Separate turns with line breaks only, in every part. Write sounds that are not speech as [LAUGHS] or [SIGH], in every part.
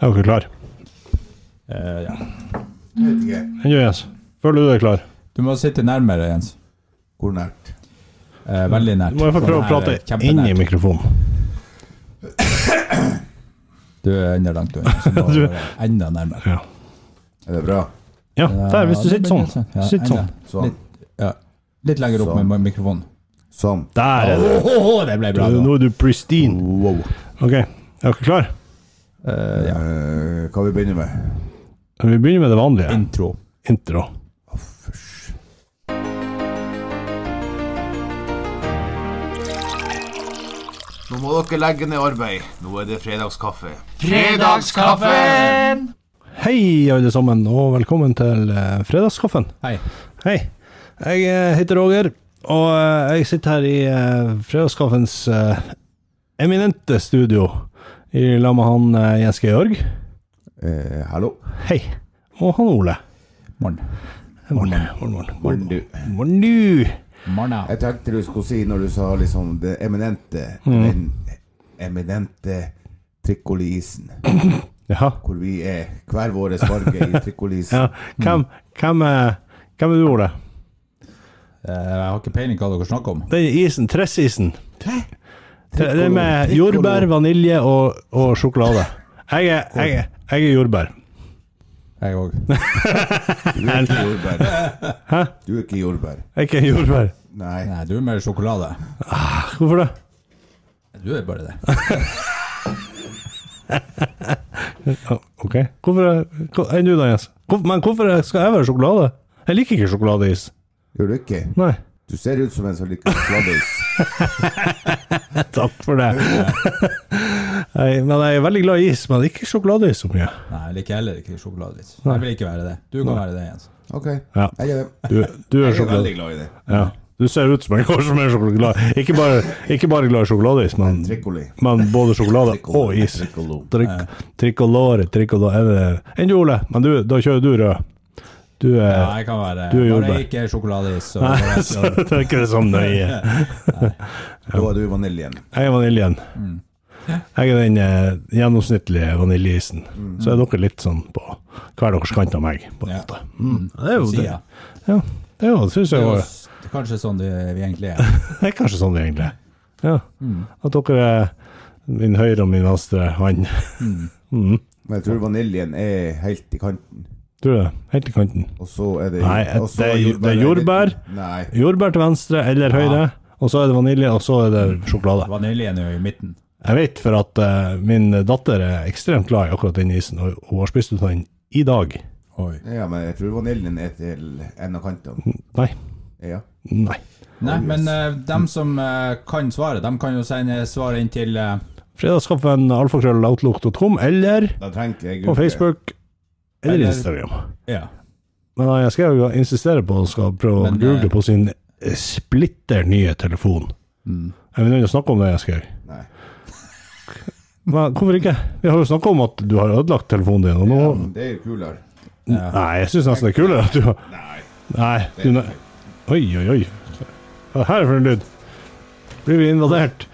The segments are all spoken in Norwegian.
Er dere klar?
Eh, ja.
Vet ikke.
Enn Jens, føler du deg klar?
Du må sitte nærmere, Jens.
Hvor nært?
Eh, veldig nært.
Du må i hvert fall prøve å
Sånn her,
prate inn i
kjempenært.
mikrofonen.
Du er enda langt unna.
[LAUGHS]
så må
Du-
du være Enda nærmere.
Ja.
Er det bra?
ja, der, hvis du
Ja, det
sitter
blir
sånn.
Ja,
Sitt sånn.
enda.
Sånn.
Litt, ja. Litt lenger opp
Sånn.
med mikrofonen.
Sånn.
Der er
Åh, åh, åh, det ble
du.
bra. nå.
Nå er du pristine.
Wow.
Ok, er dere klar?
Eh, ja.
Eh, hva vi begynner med?
Vi begynner med det vanlige.
Intro.
Intro.
Nå må dere legge ned arbeid. Nå er det fredagskaffe.
Fredagskaffen!
Hei, alle sammen, og velkommen til eh, fredagskaffen.
Hei.
Hei. Jeg eh, heter Roger, og eh, jeg sitter her i eh, fredagskaffens eh, eminente studio i lag med han eh, Jens Georg.
Eh, hallo?
Hei. Og han Ole.
Morn.
Morn, morn, morn.
Morn, du.
Morn nu.
Morna.
Jeg tenkte du skulle si når du sa liksom det eminente
Mm.
Den eminente trikoliisen.
Ja.
Hvor vi er hver vår farge i trikoliisen.
[LAUGHS] ja. Hvem, hvem, er, hvem er du, Ole?
Eh, jeg har ikke peiling hva dere snakker om.
Det er isen, tressisen. Det det er med
Trikolo.
jordbær, vanilje og, og sjokolade. Jeg er, jeg, er- jeg er jordbær.
Jeg òg.
Du er ikke jordbær. Hæ? Du er ikke jordbær.
Jeg er ikke jordbær.
Nei.
Nei, du er mer sjokolade.
Hvorfor det?
Du er bare det.
Ja, Ok. Hvorfor er- hva- Enn du da, Jens? Hvor, men hvorfor skal jeg være sjokolade? Jeg liker ikke sjokoladeis.
Gjør du ikke?
Nei. [LAUGHS]
Du ser ut som en sånn som liker sjokoladeis.
Takk for
[LAUGHS]
det. Nei, men jeg er veldig glad i is, men ikke sjokoladeis så mye.
Nei, jeg liker heller ikke sjokolade. litt. Jeg vil ikke være det. Du kan være det, Jens.
Ok.
Ja.
Jeg er,
Du, du er
jeg er
sjokolade...
veldig glad i det.
Ja. Du ser ut som en kar som er sjokolade. Ikke bare, ikke bare glad i sjokoladeis, men,
Trikoli.
men både sjokolade og is.
Trikolo.
Trikk, trikkolore, trikkolore er det- Enn du, Ole? Men du, da kjører du rød. Du er
Ja, jeg kan være
Du er
Bare
jordbær.
ikke sjokoladeis. Så
Nei, [LAUGHS] så det er ikke det samme nøye.
Da var du vaniljen.
Jeg er vaniljen. Jeg er den eh, gjennomsnittlige vaniljeisen. Så er dere litt sånn på hver deres kant av meg, på en
Ja.
måte. Mm. Det er jo det.
Sida.
Ja, det, er jo- det synes
Det
jeg
er
var
jo s- det er kanskje sånn det vi egentlig er.
Det er kanskje sånn det egentlig er. Ja.
Mm.
At dere er min høyre og min venstre hånd.
Men jeg tror vaniljen er helt i kanten.
Tror du det? Helt i kanten.
Og så er det
Nei,
og så
det er- det er jordbær.
Nei.
Jordbær til venstre eller høyre, og så er det vanilje, og så er det sjokolade.
Vaniljen er jo i midten.
Jeg vet for at eh, min datter er ekstremt glad i akkurat den isen, og hun har spist ut av den i dag.
Oi.
Ja, men jeg tror vaniljen er til en av kantene.
Nei.
Ja.
Nei. Oh,
Nei, men eh, dem som eh, kan svaret, dem kan jo sende svaret inn til eh,
Fredagskaffen alfakrølloutlook.com eller
Da trenger jeg
på Facebook eller
Eller-
Instagram.
Ja.
Men eh, jeg skal jo insistere på å skal prøve å
Men, eh,
google på sin eh, splitter nye telefon. Jeg vil nøye å snakke om det, jeg skal
Nei.
Men hvorfor ikke? Vi har jo snakka om at du har ødelagt telefonen din, og nå
Men Det er jo kulere.
Nei, jeg syns nesten det er kulere at du har
Nei.
Nei, du ne... Oi, oi, oi. Hva er det her for en lyd? Blir vi invadert?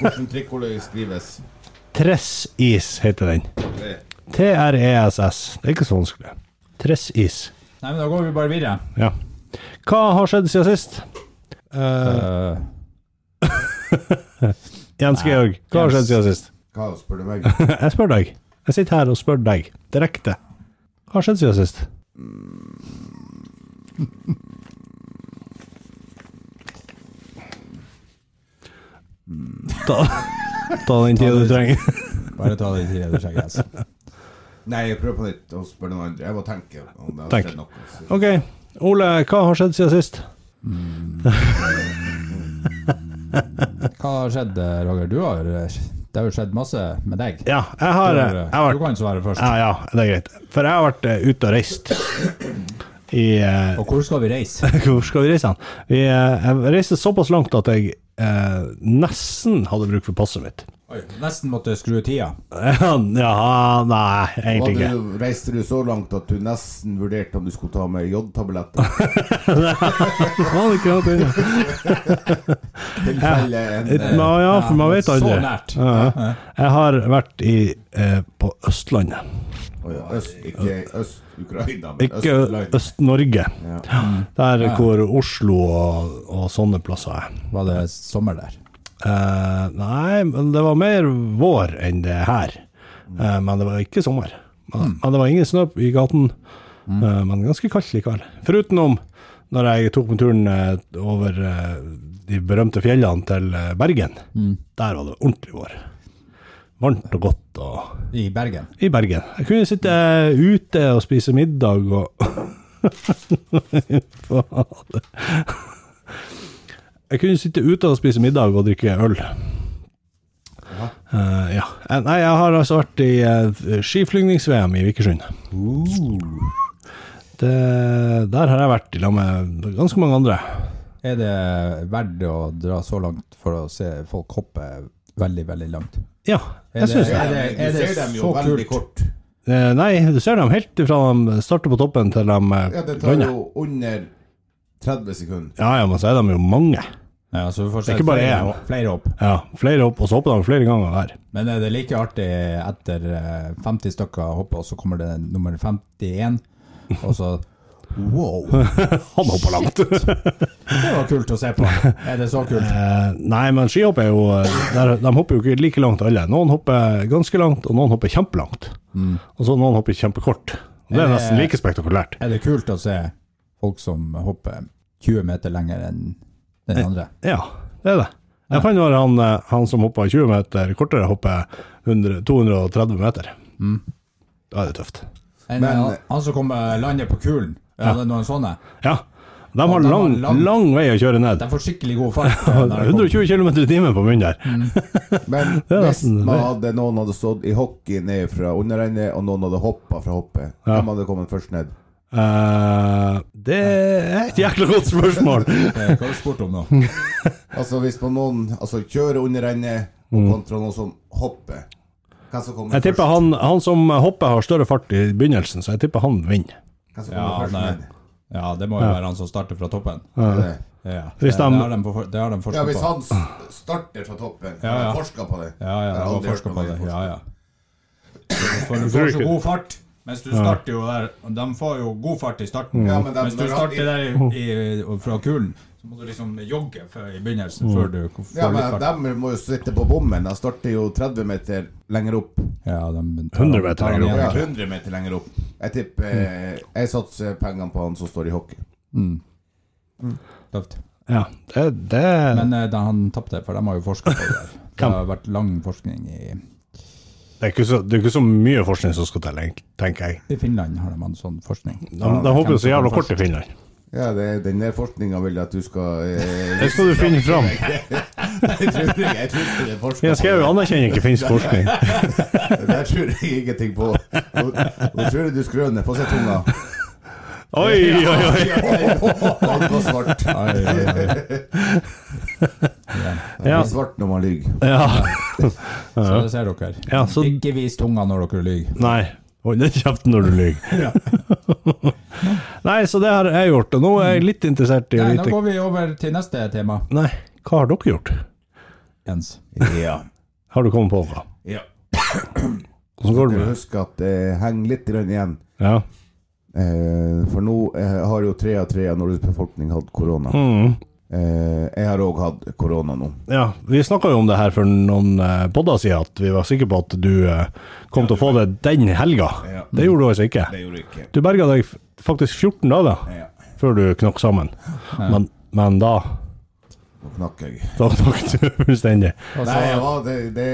Hvordan trikkoløy skrives?
Tressis heter den.
Det.
T-r-e-s-s. Det er ikke så vanskelig. Tressis.
Nei, men da går vi bare videre.
Ja. Hva har skjedd siden sist? Eh,
Eh,
Jens Georg, hva har skjedd siden sist?
Hva spør du meg?
[LAUGHS] Jeg spør deg. Jeg sitter her og spør deg direkte. Hva har skjedd siden sist? Ta, ta den tida du trenger.
bare ta det i tide du trenger. Altså.
Nei, jeg prøver på nytt og spør noen andre. Jeg må tenke om det har
Tenk.
skjedd noe. Så-
Ok, Ole, hva har skjedd siden sist?
Hva har skjedd, eh, Roger? Du har, eh, det har jo skjedd masse med deg.
Ja, jeg har,
Du,
jeg
har, eh,
har
du
vært
kan svare først.
Ja, ja, det er greit. For jeg har vært eh, ute og reist i eh,
Og hvor skal vi reise?
[LAUGHS] Hvor skal vi reise hen? Vi, eh, jeg reiste såpass langt at jeg eh, nesten hadde bruk for passet mitt.
Oi, nesten måtte skru tida.
[LAUGHS] Ja, nei, egentlig
Hadde
ikke.
du, reiste du så langt at du nesten vurderte om du skulle ta med
[LAUGHS]
jodtabletter?
Hadde ikke hatt det.
[LAUGHS] Tilfelle en
Et-
eh,
Ja, ja, for man vet aldri.
Så nært.
Ja, ja. Jeg har vært i, eh, på Østlandet.
å ja, øst, Ikke Øst-Ukraina, men
Ikke
Østland.
Øst-Norge.
Ja.
Der hvor Oslo og, og sånne plasser er.
Var det sommer der?
Eh, nei, men det var mer vår enn det her. Eh, men det var ikke sommer. Men, men det var ingen snø i gaten. Eh, men ganske kaldt likevel. Foruten om når jeg tok meg turen eh, over eh, de berømte fjellene til eh, Bergen. Der var det ordentlig vår. Varmt og godt og
I Bergen.
i Bergen. Jeg kunne sitte ute og spise middag og [LAUGHS] Fader. Jeg kunne sitte ute og spise middag og drikke øl. Eh, ja. Eh, Nei, jeg har altså vært i eh, skiflygnings-VM i Vikersund. Det, der har jeg vært i lag med ganske mange andre.
Er det verdt å dra så langt for å se folk hoppe veldig, veldig langt?
Ja,
Er
jeg syns det.
Er det-
Men
er
Du
det
ser dem
så
jo
kult?
veldig kort.
Eh, Nei, du ser dem helt ifra de starter på toppen til de eh,
Ja, det tar
lander.
jo under 30 sekunder.
Ja, ja, men så er de jo mange.
Ja, så vi får se
Ikke bare
flere,
jeg.
flere opp.
Ja, flere opp, og så hopper de flere ganger hver.
Men er det like artig etter eh, 50 stykker hopper, og så kommer det nummer 51, og så
[LAUGHS]
Wow!
Han hopper langt.
Det var kult å se på. Er det så
[LAUGHS]
kult?
Eh, nei, men skihopp er jo eh, der, De hopper jo ikke like langt alle. Noen hopper ganske langt, og noen hopper kjempelangt. Og så noen hopper kjempekort. Og det er
Eh,
nesten like spektakulært.
Er det kult å se folk som hopper 20 meter lenger enn den andre?
Ja, det er det. Jeg fant var han, eh, han som hoppa 20 meter kortere, hopper 100, 230 meter. Da er det tøft.
Enn han, han som kommer lander på kulen? Er det noen sånne?
Ja. De har
de har
lang,
lang-
lang vei å kjøre ned.
De får skikkelig god
[LAUGHS]
fart. eh, når de kommer.
120 km i timen på munnen der. [LAUGHS]
Men
er
hvis
nesten-
man hadde, noen hadde stått i hockey ned fra underrennet, og noen hadde hoppa fra hoppet, hvem hadde kommet først ned?
Eh, det er et jækla godt spørsmål.
[LAUGHS] Eh, Hva har du spurt om nå?
Altså hvis man noen altså, kjører underrennet, og kontra noen som hopper, hvem som kommer
Mm. Jeg tipper
først?
han, han som hopper har større fart i begynnelsen, så jeg tipper han vinner.
Hvem som
Ja,
kommer først
nei.
ned?
Ja, det må jo være han som starter fra toppen.
Ja.
Ja, det,
Hvis
det
de-
har de, for- det har de
Ja,
forska
hvis
på.
han s- starter fra toppen, ja,
ja.
forsker på det
Ja, ja,
Jeg har
det var
aldri hørt
forska
om
på
det.
det. Ja, ja. For du
tror
får så
ikke-
god fart. Mens du starter jo der og De får jo god fart i starten.
Ja, men de-
Mens du
når han-
starter der
Oh.
i, i, og fra kulen, så må du liksom jogge før, i begynnelsen
Oh.
før du k- får
Ja,
litt
men
fart.
de må jo sitte på bommen. De starter jo 30 meter lenger opp.
Ja, de tar-
100 meter
tar han
lenger opp,
igjen.
Ja, 100 meter lenger opp. Jeg tipper eh, Jeg satser pengene på han som står i hockey.
Tøft.
Ja, det, det
Men eh, da han tapte, for de har jo forska på det
[LAUGHS]
der. Det har vært lang forskning i,
det, er ikke så, det er ikke så mye forskning som skal til, egentlig, tenker jeg.
i Finland. har de hatt sånn forskning.
De, de hopper jo så jævla kort i Finland.
Ja, det, er- den der forskninga vil jeg at du skal eh,
Det skal du finne fram.
[LAUGHS] Jeg tror ikke jeg tror ikke det er forskning.
Jeg skrev jo anerkjenner ikke finsk forskning.
Der tror jeg ingenting på. Nå nå tror jeg du skrøner. Få
[LAUGHS]
se tunga.
[LAUGHS] Oi, oi, oi.
Den var svart. Den
Ja.
er svart når man lyver.
Ja,
Så det ser dere.
ja så
Ikke vis tunga når dere lyver.
Nei. Hold deg kjeften når du lyver. [LAUGHS] Nei, så det har jeg gjort, og nå er jeg litt interessert i å
Nei, Nå
vite
går vi over til neste tema,
Nei, hva har dere gjort?
Jens.
Ja.
Har du kommet på noe?
ja.
Hvordan går det
Du
med det?
husker at det henger litt grann igjen.
Ja.
Eh, for nå eh, har jo tre av tre av Norges befolkning hatt korona.
Mm.
Eh, jeg har òg hatt korona nå.
Ja, vi snakka jo om det her for noen eh, podder siden, at vi var sikre på at du eh, kom til å få det den helga.
Ja.
Det gjorde du altså ikke.
gjorde jeg ikke.
Du berga deg f- faktisk 14 dager
Ja.
før du knakk sammen. Men, men da
Nå knakk jeg.
Da knakk du [LAUGHS] fullstendig.
Nei, jeg, var, det, det,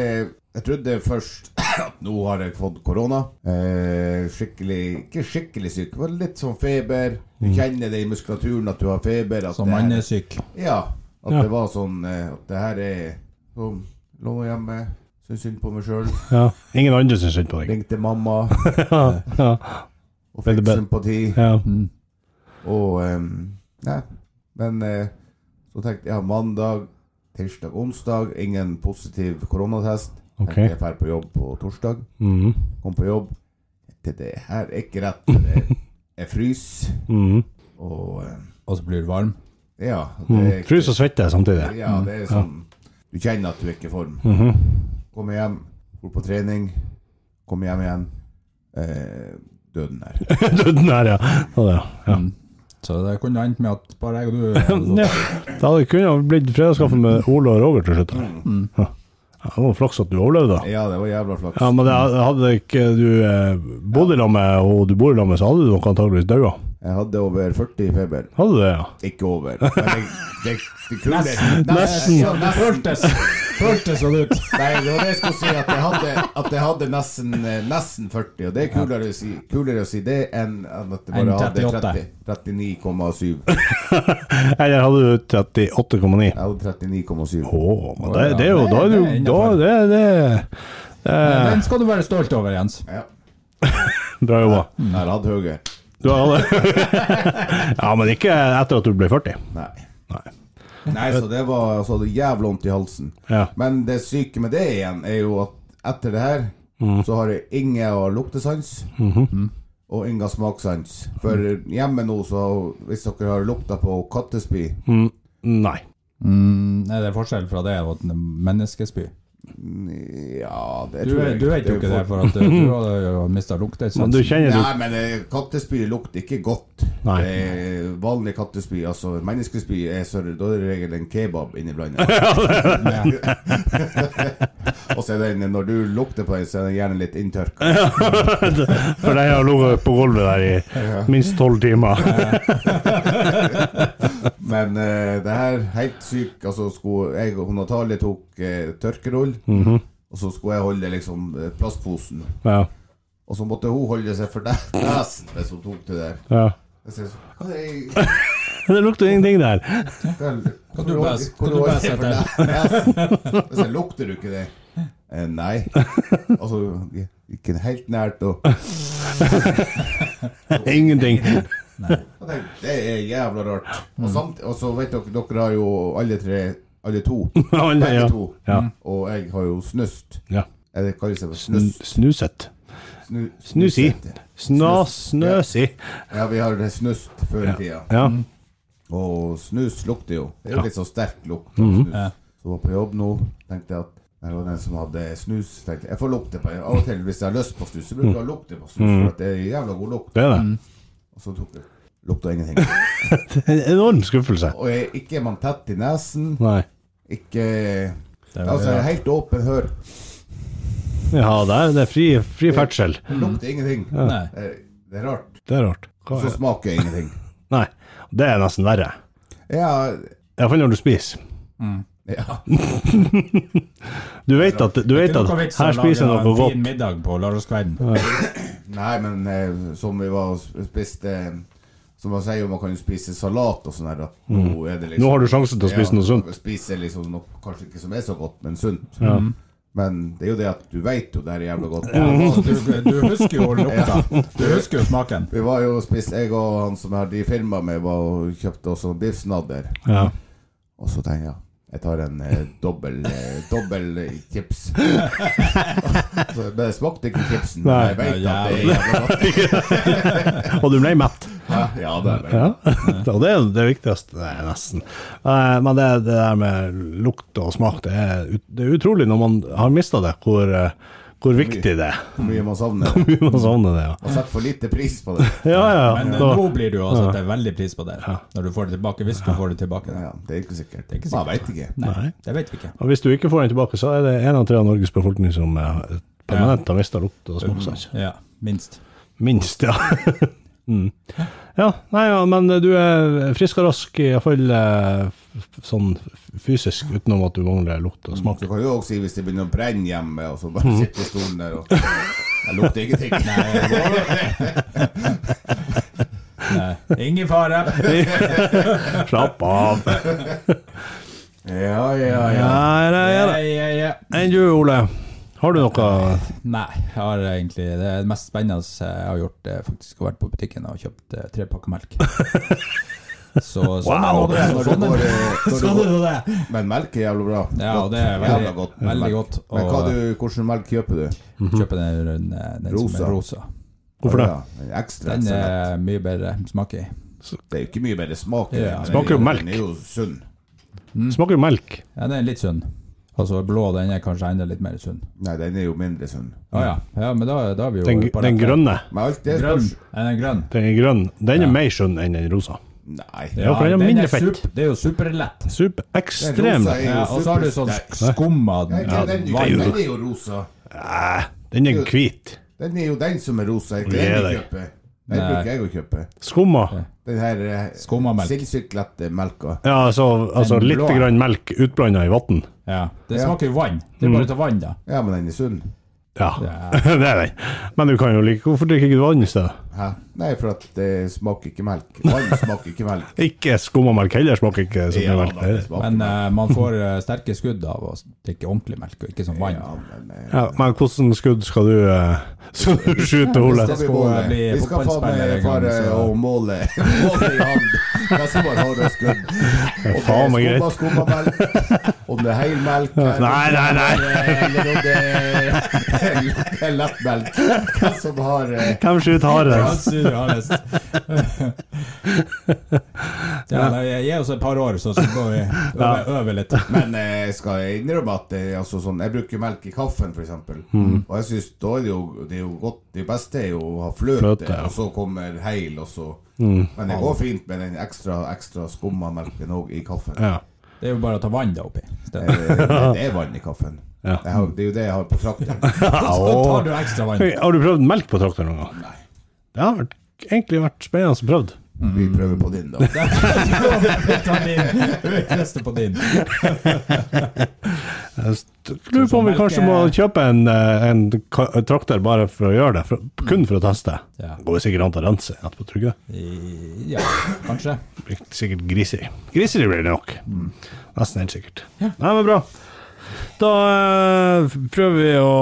jeg trodde først [CLEARS THROAT] at nå har jeg fått korona. Eh, skikkelig Ikke skikkelig syk, men litt sånn feber. Du
Mm.
kjenner det i muskulaturen at du har feber. At
Som
det,
man
her-
er syk.
ja, at
Ja.
det var sånn eh, At det her er som lå hjemme, syntes synd på meg sjøl,
Ja. Ingen andre syns synd på deg.
ringte
[LAUGHS]
mamma
Ja, ja,
og
Veldig
fikk
bra.
sympati.
ja.
Mm.
Og ehm, Nei, men eh, så tenkte jeg ja, mandag, tirsdag, onsdag, ingen positiv koronatest.
Ok.
Jeg drar på jobb på torsdag.
Mhm.
Kom på jobb. Det, det her er ikke rett. Jeg, jeg fryser.
Mhm.
Og eh,
Og så blir du varm.
ja det er ikke-
Mm. Frys og Mm. svette samtidig.
Ja, det er sånn Du kjenner at du er ikke i form.
Mhm. [LAUGHS]
Kommer hjem, går på trening, kommer hjem igjen. Eh, døden her.
Døden her, ja. Ja, ja. ja.
Mm. Så det kunne endt med at bare jeg
[LAUGHS]
og du hadde
ja. Det hadde kunne ha blitt fredagskaffe med Ole og Roger til slutt. her.
Mm.
Ja. Ja, Det var flaks at du overlevde, da.
Ja, det var jævla flaks.
Ja, Men det hadde ikke du eh, bodd i lag med og du bor i lag med, så hadde du nok antageligvis daua.
Jeg hadde over 40 i feber.
Hadde du det, ja?
Ikke over. Men det, det, det kule
Nesten.
Ja, nesten.
Føltes føltes sånn ut.
Nei, det var det jeg skulle si, at jeg hadde, at jeg hadde nesten, eh, nesten 40. Og det er kulere, å, si, kulere å si det enn enn at jeg
Enn
bare hadde
38.
30 39,7. Jeg
Eller hadde du 38,9?
hadde 39,7.
Åh, men det, det er jo Da er du da, det, det,
Den skal du være stolt over, Jens.
Ja.
Bra jobba.
Jeg har hatt høyere.
Du hadde [LAUGHS] Ja, men ikke etter at du ble 40.
Nei.
Nei.
Nei, så det var altså, det jævla vondt i halsen.
Ja.
Men det syke med det igjen er jo at etter det her så har jeg ingen å luktesans. Og ingen smakssans. For hjemme nå, så hvis dere har lukta på kattespy
Nei.
Mm, er det forskjell fra det og et menneskespy?
Ja, det
Du,
tror jeg
du vet jo ikke det, for at du, du
[LAUGHS]
har jo mista
Men du
luktesansen.
kjenner du [LAUGHS]
Nei, men eh, kattespy lukter ikke godt.
Nei.
Det er vanlig kattespy, altså menneskespy, er så, da er det regel en kebab inni
[LAUGHS]
blandet. [LAUGHS] Og så er den, når du lukter på den, så er den gjerne litt inntørka.
For den har ligget på gulvet der i minst tolv timer.
Men eh, det her helt syk Altså skulle jeg og hun Natalie tok eh, tørkerull
Mhm.
Og så skulle jeg holde liksom eh, plastposen
Ja,
Og så måtte hun holde seg
[LAUGHS]
for deg Nesen hvis hun tok det der
ja.
Jeg sier så, hva er det
Det lukter ingenting der. [LAUGHS]
Hva-
Kan du
hvor-
bæs-
hvor
kan du
holder
bæs
jeg for deg nesen? Jeg sier, lukter du ikke det? Eh, nei Altså, ikke helt nært og
Ingenting.
Jeg tenkte, Det er jævla rart Og, samt, og så vet dere, dere har jo alle tre Alle to
[LAUGHS] Alle,
Begge
ja.
to
Ja.
Og jeg har jo snust
Ja.
Er det kalles det for
Sn-
snus?
Snuset.
Snu,
Snusi.
snusete.
Snas, snøsi.
Ja, vi har det snust før i tida.
Ja.
Mm.
Og snus lukter jo. Det er jo litt sånn sterk lukt. av
Mhm.
snus. Så var på jobb nå, tenkte jeg at jeg var den som hadde snus. tenkte Jeg jeg får lukte på det. Av og til hvis jeg har lyst på snus, så bruker
Mhm.
jeg å lukte på snus. For at det er jævla god lukt.
Det er
Mm.
det.
Og så tok jeg lukta ingenting.
En enorm skuffelse.
Og jeg, ikke er man tett i nesen.
Nei.
Ikke
er
Altså, jeg er helt åpen hør.
Ja, det er, det er fri, fri ferdsel.
Lukter ingenting.
Nei.
Det er, det er rart.
Det er rart. Hva
Så
er det?
smaker jeg ingenting.
Nei. Det er nesten verre.
Ja,
Iallfall når du spiser.
ja.
Du vet at, du vet
Det er
at
noe vits å
her
lage
spiser jeg noe
en
godt.
fin middag på lørdagskvelden.
Nei, men eh, som vi var og sp- spiste eh, Som man sier, man kan jo spise salat og sånn her. da. Nå er det liksom
Mhm. Nå har du sjansen til å spise
Ja,
noe sunt.
Spise liksom noe kanskje ikke som er så godt, men sunt. Men det er jo det at du veit jo det er jævla godt.
Du, du husker jo lukta. Du husker jo smaken.
[LAUGHS] Vi var jo og spiste, jeg og han som jeg har de firma med, var og kjøpte også biffsnadder.
Ja.
Og så tenker jeg jeg tar en eh, dobbel eh, dobbel eh, chips. så, men det smakte ikke chipsen.
Nei.
Men jeg veit at det er jævla godt.
Og du ble mett.
Ja, ja, det er det.
Ja, [LAUGHS] og det er jo det viktigste, Nei, nesten. Eh, Men det, det der med lukt og smak, det er, ut- det er utrolig når man har mista det, hvor, eh, hvor viktig det er. [LAUGHS]
Hvor mye man savner.
Man savner det, ja.
Og setter for lite pris på det.
Ja, ja.
Men eh,
Da,
nå blir du jo altså at det er veldig pris på det, når du får det tilbake. Hvis du får det tilbake.
Ja, det er ikke sikkert.
ikke
Man vet ikke.
Nei, det vet vi ikke.
og hvis du ikke får den tilbake, så er det en av tre av Norges befolkning som eh, permanent har mista lukt og smakssans.
Ja, minst.
Minst, ja. [LAUGHS] Mm. Ja, nei, ja, men du er frisk og rask, iallfall sånn fysisk, utenom at du mangler lukt og
[LAUGHS]
smak.
Du kan jo også si hvis det begynner å brenne hjemme, og så bare sitter i stolen der og Jeg lukter ingenting.
Nei. Ingen fare.
Slapp av.
Ja, ja,
Ja,
ja.
ja, ja.
Ja, ja, ja.
Enn du, Ole? Har du noe
Nei, jeg har egentlig det er det mest spennende jeg har gjort, eh, faktisk å vært på butikken og kjøpt eh, tre pakker melk. Så sånn
Wow.
er nå
Når
det.
du
Sånn
går,
er det.
eh, når du
Sånn er
går,
nå det.
men melk er jævlig bra.
Ja, og det er veldig
Jævla
godt.
godt.
Veldig
melk.
godt.
Men
Og
hva du, hvordan melk kjøper du?
kjøper den, den, den rosa.
Rosa.
som er rosa.
Hvorfor det?
Ja, en ekstra
Den
ekstra.
er mye bedre smak i.
Det er jo ikke mye bedre smak. i
Ja.
den, men
Smaker jo
den-
melk.
Den er jo sunn.
Smaker jo melk.
Ja, den er litt sunn. Altså blå, den er kanskje enda litt mer sunn.
Nei, den er jo mindre sunn.
Å ja. ja, men da, da er vi jo
Den,
på
den
rett vei.
grønne.
Men alt det
Grønn.
spørs
Er den grønn?
Den er grønn. Den er mer sunn enn den rosa.
Nei.
Ja, for den er mindre fett.
sup- det er jo superlett.
Super ekstrem.
Den rosa er-
Ja, og så har du sånn skumma
Nei, ikke
ja,
den, du-
vann.
den er jo rosa.
Eh, Den er hvit.
Den er jo den som er rosa. Ikke
Det er
den vi
det.
kjøper. Den
Nei.
bruker jeg å kjøpe.
Skumma.
Den her eh,
Skummamelk.
sinnssykt lette melka.
Ja, altså, altså
Den
litt
blå.
grann melk utblanda i vann.
Ja. Det
Ja.
smaker jo vann.
Mm.
Det er bare å ta vann, da.
Ja, men den er sunn.
Ja,
Ja.
[LAUGHS] det er den. Men du kan jo like Hvorfor drikker ikke du vann i stedet?
Hæ? Nei, for at det smaker ikke melk. Vann smaker ikke melk.
[LAUGHS] Ikke skummamelk heller smaker ikke så mye
Ja,
melk.
da, det smaker
Men eh, man får eh, sterke skudd av å drikke ordentlig melk, og ikke som vann.
Ja, men, eh,
Ja, men hvordan skudd skal du, eh, [LAUGHS] skal du skyte,
vi
Ole?
skal
skulle
måle.
bli
Vi skal faen
fotballspiller
meg
en gang,
fare
så-
og måle [LAUGHS] Måle i hand. Hva som er harde skudd. Og det
Faen meg
er
greit.
skumma melk. Om det er hel melk eller-
Nei, nei, nei.
Eller om [LAUGHS] det er lett melk. Hva som har eh,
Hvem skyter
[LAUGHS] Ja,
hardest?
sier Johannes. [LAUGHS] ja, nei, gi oss et par år, så, så går
[LAUGHS]
vi øve, øve litt.
Men eh, skal jeg innrømme at det, er altså sånn, jeg bruker melk i kaffen, f.eks. eksempel
Mm.
Og jeg syns da er det jo, det er jo godt Det beste er jo å ha fløte,
Fløte, ja. Mm.
og så kommer heil, og så Men det går fint med den ekstra, ekstra skumma melken òg i kaffen.
Ja.
Det er jo bare å ta vann da oppi.
Eh,
[LAUGHS]
stedet.
Det er vann i kaffen.
Ja.
Jeg har, det er jo det jeg har på
[LAUGHS]
traktoren.
Så tar du ekstra vann. [LAUGHS]
Hei, Har du prøvd melk på traktor noen gang?
Nei.
Det har vært, egentlig vært spennende å prøve.
Vi prøver på
[LAUGHS]
din, da.
Vi tar din. Vi tester på din.
Jeg lurer på om vi
Melk
kanskje
er-
må kjøpe en, eh, en ka- trakter bare for å gjøre det, for, kun for å teste.
Ja.
Går sikkert an til å rense etterpå, tror jeg.
I- Ja, kanskje.
Blir sikkert griseri. Griseri blir det nok. Nesten helt sikkert. Nei, men bra. Da eh, prøver vi å,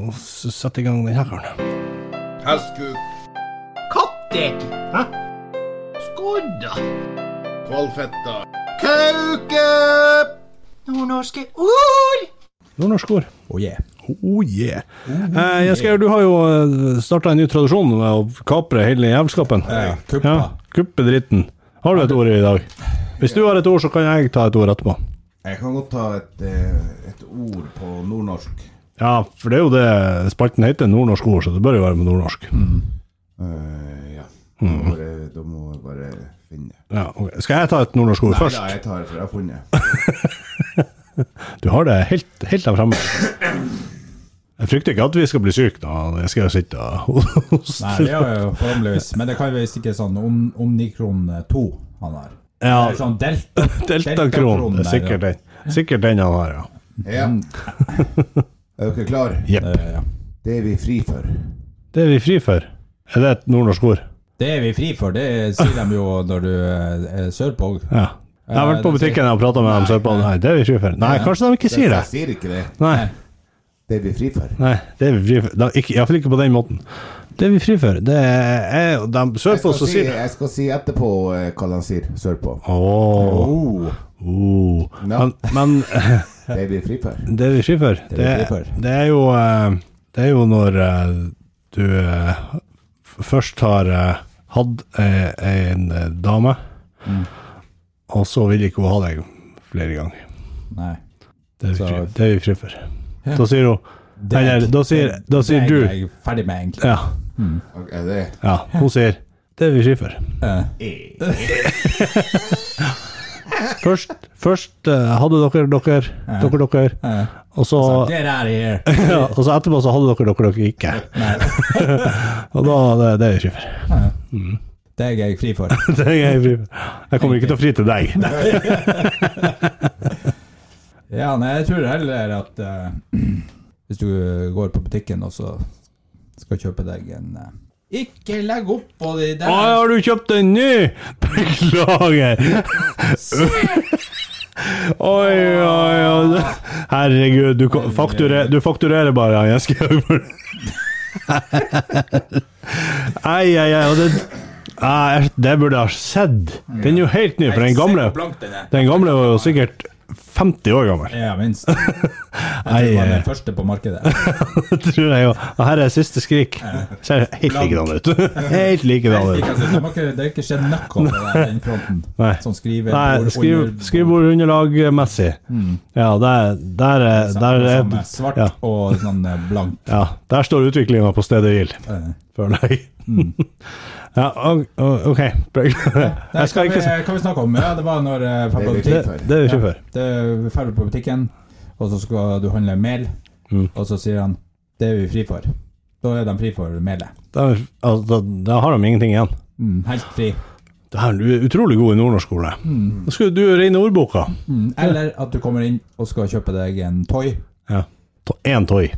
å s- sette i gang den her karen.
Hestkuk. Kattek. Hæ? Skodda. Kvalfetta. Kauke. Nordnorske ord.
Nordnorsk ord.
Oh yeah.
Oh yeah. Eh, jeg skal, du har jo starta en ny tradisjon med å kapre hele jævelskapen.
Ja, kuppa.
kuppe dritten. Har du et ord i dag? Hvis du har et ord, så kan jeg ta et ord etterpå.
Jeg kan godt ta et, eh, et ord på nordnorsk.
Ja, for det er jo det spalten heter, nordnorsk ord, så det bør jo være på nordnorsk.
Eh, ja. Da
Mm.
må jeg- Da må jeg bare finne
Ja, ok. Skal jeg ta et nordnorsk ord
Nei
først?
da, jeg tar det, for jeg har funnet
Du har det helt, helt der fremme. Jeg frykter ikke at vi skal bli syke da. Jeg skal jo sitte og [LAUGHS]
Nei,
hoste.
det er jo forhåpentligvis. Men det kan jo visst ikke sånn om, omnikron 2 han har.
Ja,
Eller sånn delta,
[LAUGHS] Deltakron. Det er sikkert
der,
den. Sikkert den han har, ja.
Ja.
Mm.
Er dere klare?
ja.
Jepp.
Eh, ja.
Det er vi fri for.
Det er vi fri for. Er det et nordnorsk ord?
Det er vi fri for, det sier de jo når du eh, er sørpå.
Ja. Jeg har vært på butikken og prata med dem sørpå. Nei, det er vi fri for. Nei, kanskje de ikke sier det.
Jeg sier ikke det.
Nei.
Det er vi fri for.
Nei, det er vi fri for. Da, ikke, iallfall ikke på den måten. Det er vi fri for. Det er jo de
Jeg
sørpå
skal,
som
si,
sier det.
jeg skal si etterpå eh, hva han sier sørpå.
Ååå.
Oh.
Men, men [LAUGHS]
Det er vi fri for.
Det er vi fri for. Det,
vi fri for.
det er jo eh, Det er jo når eh, du eh, f- først har eh, hatt eh, en eh, dame,
Mm.
og så vil ikke hun ha deg flere ganger.
Nei.
Det er vi
Så-
fri, det er vi fri for. Da sier hun Eller, da sier, da sier
det er
du
jeg ferdig med, egentlig.
ja,
Ok, Er det
ja, hun sier Det er vi fri for. [LAUGHS] Først, først eh, hadde dere dere, dere, dere,
Eh,
og så
Get out of here!
[LAUGHS] ja, Og så etterpå så hadde dere dere, dere ikke. Og da Det, det er vi fri for.
Det er jeg fri for.
[LAUGHS] Det er jeg fri for. Jeg kommer ikke til å fri til deg.
Ja, nei, jeg tror heller at eh, hvis du går på butikken og så skal kjøpe deg en eh, Ikke legg opp på de der
Å, har du kjøpt en ny? [LAUGHS] Beklager. Oi, oi, oi. Herregud, du, ko- fakturer, du fakturerer bare. Jeg [LAUGHS] skal Ai, ai, ai. og Det, Ah, jeg- det burde jeg ha sett. Den er jo helt ny, for den gamle
Blank den er.
Den gamle var jo sikkert 50 år gammel. [LAUGHS]
Ja, minst. Jeg tror det
eh,
var den første på markedet.
Det tror jeg jo. Og her er siste skrik. Ser helt likedan ut. [LAUGHS] Helt likedan
Det
ut.
har ikke, det har ikke skjedd noe på den- den fronten.
Nei.
Sånn skrive
Nei, skriv, skrivbordunderlag-messig.
Mm.
Ja, der, der, er- der er
Svart
ja.
og sånn eh, blank.
Ja, der står utviklinga på stedet hvil,
eh.
føler jeg. [LAUGHS] Ja, og- og- OK.
Mm. Nei,
[LAUGHS] Jeg skal ikke
hva
se
vi, hva vi snakke om? Ja, det var når eh, jeg drar på
Det,
Det-
butikk.
det er jo ikke før.
Det er ferdig på butikken, og så skal du handle mel,
Mm.
og så sier han det er vi fri for. Da er de fri for melet.
Da, altså, da, da har de ingenting igjen.
Mm, helt fri.
Det her, du er utrolig god i nordnorsk skole. Nå skal du regne ordboka.
Mm, eller at du kommer inn og skal kjøpe deg en toy.
Ja. To- Én toy.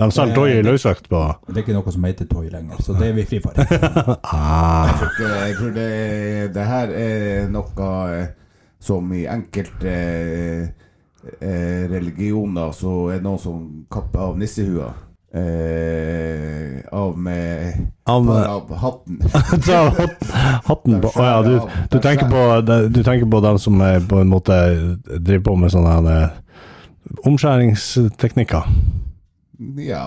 De selger toy i løsvekt på
Det er ikke noe som heter toy lenger, så det er vi fri for.
Ah.
Jeg tror, ikke, eh, jeg tror det, det her er noe eh, som i enkelte eh, eh, religioner så er det noen som kapper av nissehua. Eh, av med
Av med-
tar av hatten. [LAUGHS]
[LAUGHS] Så har hatt- Hatten på Å ja, du, du, tenker på, du tenker på dem som eh, på en måte driver på med sånne her, eh, omskjæringsteknikker.
Ja.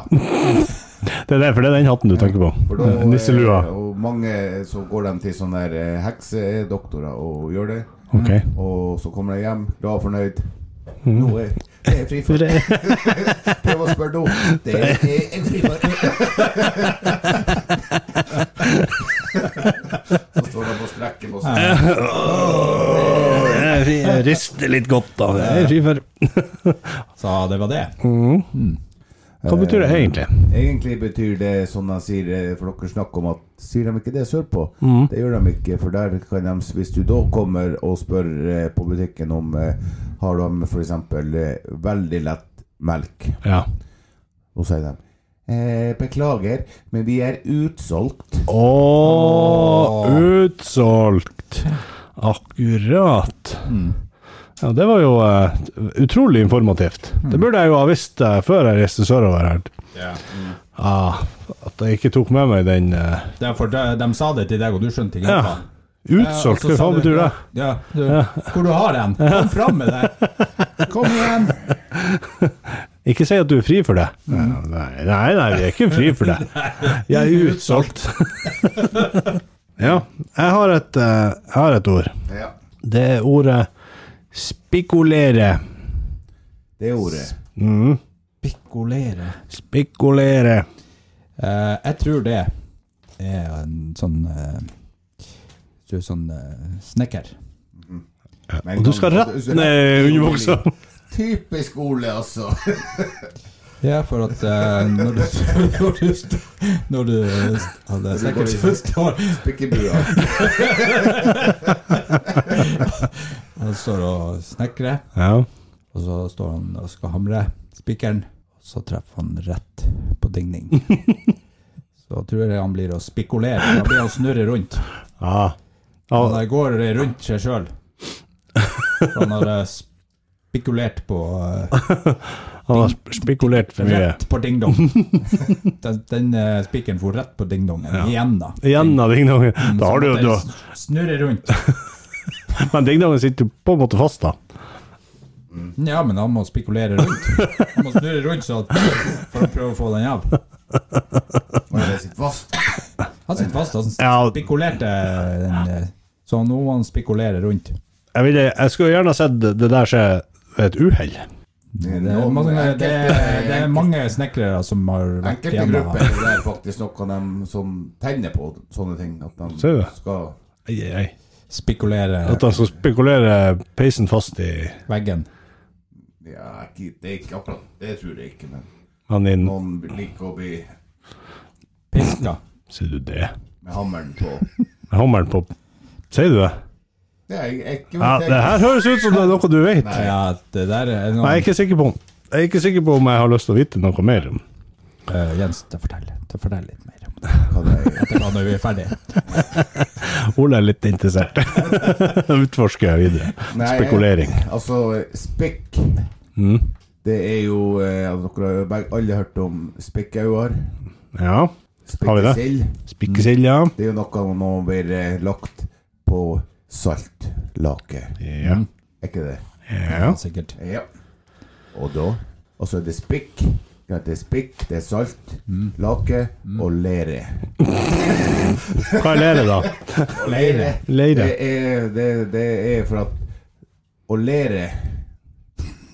Det er det, for det er den hatten du tenker på.
For da,
Eh, Nisselua.
eh, Og mange så går de til sånne der, eh, heksedoktorer og gjør det.
[LAUGHS] Ok.
Og så kommer de hjem, glad og fornøyd. Nå er Mm. det er fri for [LAUGHS] Prøv å spørre nå. Det er en fri [LAUGHS] for Så står de og sprekker på seg.
Jeg rister litt godt av det. Jeg er fri for-
Så det var det.
Hva betyr det egentlig?
Egentlig betyr det som de sier, eh, for dere snakker om at Sier de ikke det sørpå? Det gjør de ikke, for der kan de Hvis du da kommer og spør eh, på butikken om eh, Har de f.eks. veldig lett melk,
Ja.
og sier de eh, Beklager, men vi er utsolgt.
Å, utsolgt. Akkurat. Ja, det var jo eh, utrolig informativt. Det burde jeg jo ha visst eh, før jeg reiste sørover her. Ah, at jeg ikke tok med meg den eh,
Det er for de, de sa det til deg, og du skjønte ikke
Ja.
hva.
Utsolgt,
Ja, og så
hva
sa
faen
du-
betyr det?
Ja, du, Hvor du har den? Kom fram med det! Kom igjen!
Ikke si at du er fri for det. Nei, nei, nei, vi er ikke fri for det. Jeg er utsolgt. [LAUGHS] ja, jeg har et, eh, jeg har et ord.
Ja,
Det er ordet spikulere.
det er ordet.
Pikolere.
Spikulere.
Eh, jeg tror det er en sånn eh, jeg tror sånn eh, snekker.
Men
Og du skal
kan-
rett ned i underbuksa.
Typisk Ole, altså.
Ja, for at eh, når du [LAUGHS] Når du, st- når du hadde snekker, så står
Spikkebua.
Han står og snekrer,
Ja.
og så står han og skal hamre spikeren. og Så treffer han rett på
[LAUGHS]
dingning. Så tror jeg han blir å spikulere. Da blir han å snurre rundt.
ja.
Han
ja.
eh, går rundt seg sjøl. Han har eh, spikulert på eh,
Han har sp- spikulert for mye.
Rett på ding-dong. [LAUGHS] den den eh, spikeren for rett på ding-dongen. Igjen, da.
Igjen av dingdongen. Da har du jo
Så måtte jeg
du-
s- Snurre rundt.
Men dingdongen sitter jo på en måte fast, da.
Ja, men han må spikulere rundt. Han må snurre rundt så at, for å prøve å få den av.
Og jeg sitter fast.
Han sitter fast, han
Ja.
spikulerte den eh, Så nå må han spikulere rundt.
Jeg, ville, jeg skulle gjerne ha sett det der skje ved et uhell.
Det er mange, det er, det er mange snekrere som har vært
Enkelte
hjemme.
grupper er det faktisk noe de som tenner på sånne ting. At de
Ser du det?
skal
Ei, ei, ei.
Spikulere
At han skal spekulere peisen fast i
veggen.
Ja, ikke- det er ikke akkurat Det tror jeg ikke, men
han inn.
noen liker å bli
Piska.
Sier du det?
med hammeren på
Med hammeren på Sier du det?
Det er jeg- jeg-
Ja, det her høres ut som det er noe du vet. Nei,
Ja, det der er noe
jeg er ikke sikker på om jeg er ikke sikker på om jeg har lyst til å vite noe mer. om.
Eh, Jens, ta fortell, ta fortell litt mer om det.
Hva det er.
Etterpå når vi er ferdige.
Ole er litt interessert. Utforsker jeg videre.
Nei,
Spekulering. Mm.
Altså, spikk altså, Det er jo eh, at Dere har jo beg- alle hørt om spikkauer.
Ja. Har vi det?
Spikkesild.
Spikkesild, ja.
Det er jo noe man blir eh, lagt på saltlake.
Ja.
Er ikke det?
[LAUGHS] ja.
Sikkert.
Ja. Og da Og så er det spikk. Ja, det er spikk, det er salt, lake og leire.
Hva er leire, da?
Leire.
Leire.
Det er, det, det er for at Å lære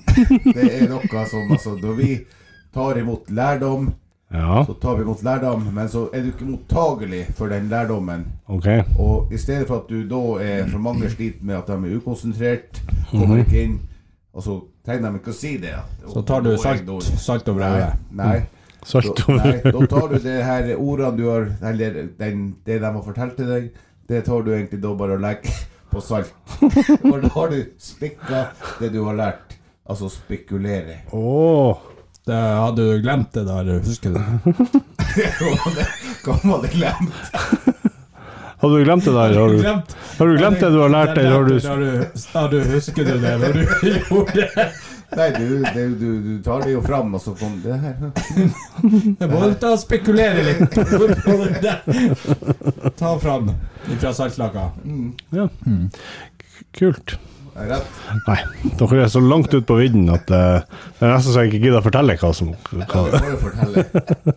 [LAUGHS] Det er noe som Altså, når vi tar imot lærdom,
Ja,
så tar vi imot lærdom, men så er du ikke mottagelig for den lærdommen.
OK.
Og i stedet for at du da er For mange sliter med at de er ukonsentrert, kommer ikke inn, og så trenger de ikke å si det. at-
Så tar du
Nå er jeg
salt,
dårlig.
salt over
Nei,
øyet.
nei.
Salt
Da,
over
nei, da tar du det her ordene du har Eller den, det de har fortalt til deg, det tar du egentlig da bare og legger på salt. For da har du spikka det du har lært. Altså spekulere.
Å!
Det hadde du glemt det der, husker du?
Hva var det glemt?
Har du glemt det der? Har du,
Glemt.
har du glemt det du har lært, eller har du
Har du, har du husker du det når du [LAUGHS] gjorde det?
Nei, du, det, du, du tar det jo fram, og så kom det her.
Jeg må ta og spekulere [LAUGHS] litt på det der. Ta fram ifra saltlaka.
Ja. Kult.
Rett.
Nei, dere er så langt ut på vidden at eh, det er nesten så jeg ikke gidder å fortelle hva som hva.
Kan du bare fortelle?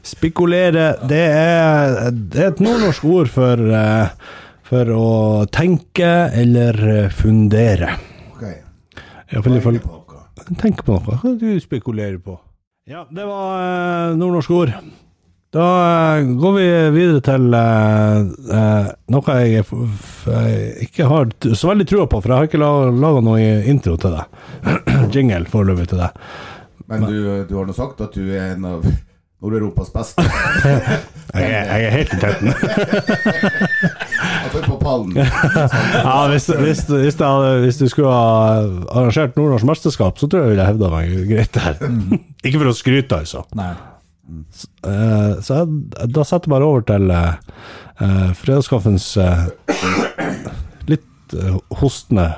Spekulere, det er, det er et nordnorsk ord for, eh, for å tenke eller eh, fundere.
Ok.
Iallfall ifølge
Tenker på noe.
Tenk på noe. Hva er det du spekulerer på? Ja, det var eh, nordnorske ord. Da eh, går vi videre til eh, eh, noe jeg er f f eh, ikke har t- så veldig trua på, for jeg har ikke laga noe intro til det. [CLEARS THROAT] Jingle foreløpig til det.
Men du, du har nå sagt at du er en av Nord-Europas beste.
Jeg, er- jeg er helt i tetten.
Iallfall på pallen.
Ja, hvis, hvis, hvis, jeg hadde, hvis du skulle ha arrangert nordnorsk mesterskap, så tror jeg jeg ville hevda meg greit der. Ikke for å skryte, altså.
Nei.
Eh, så jeg, da setter jeg bare over til eh, eh, fredagskaffens eh, litt eh, hostende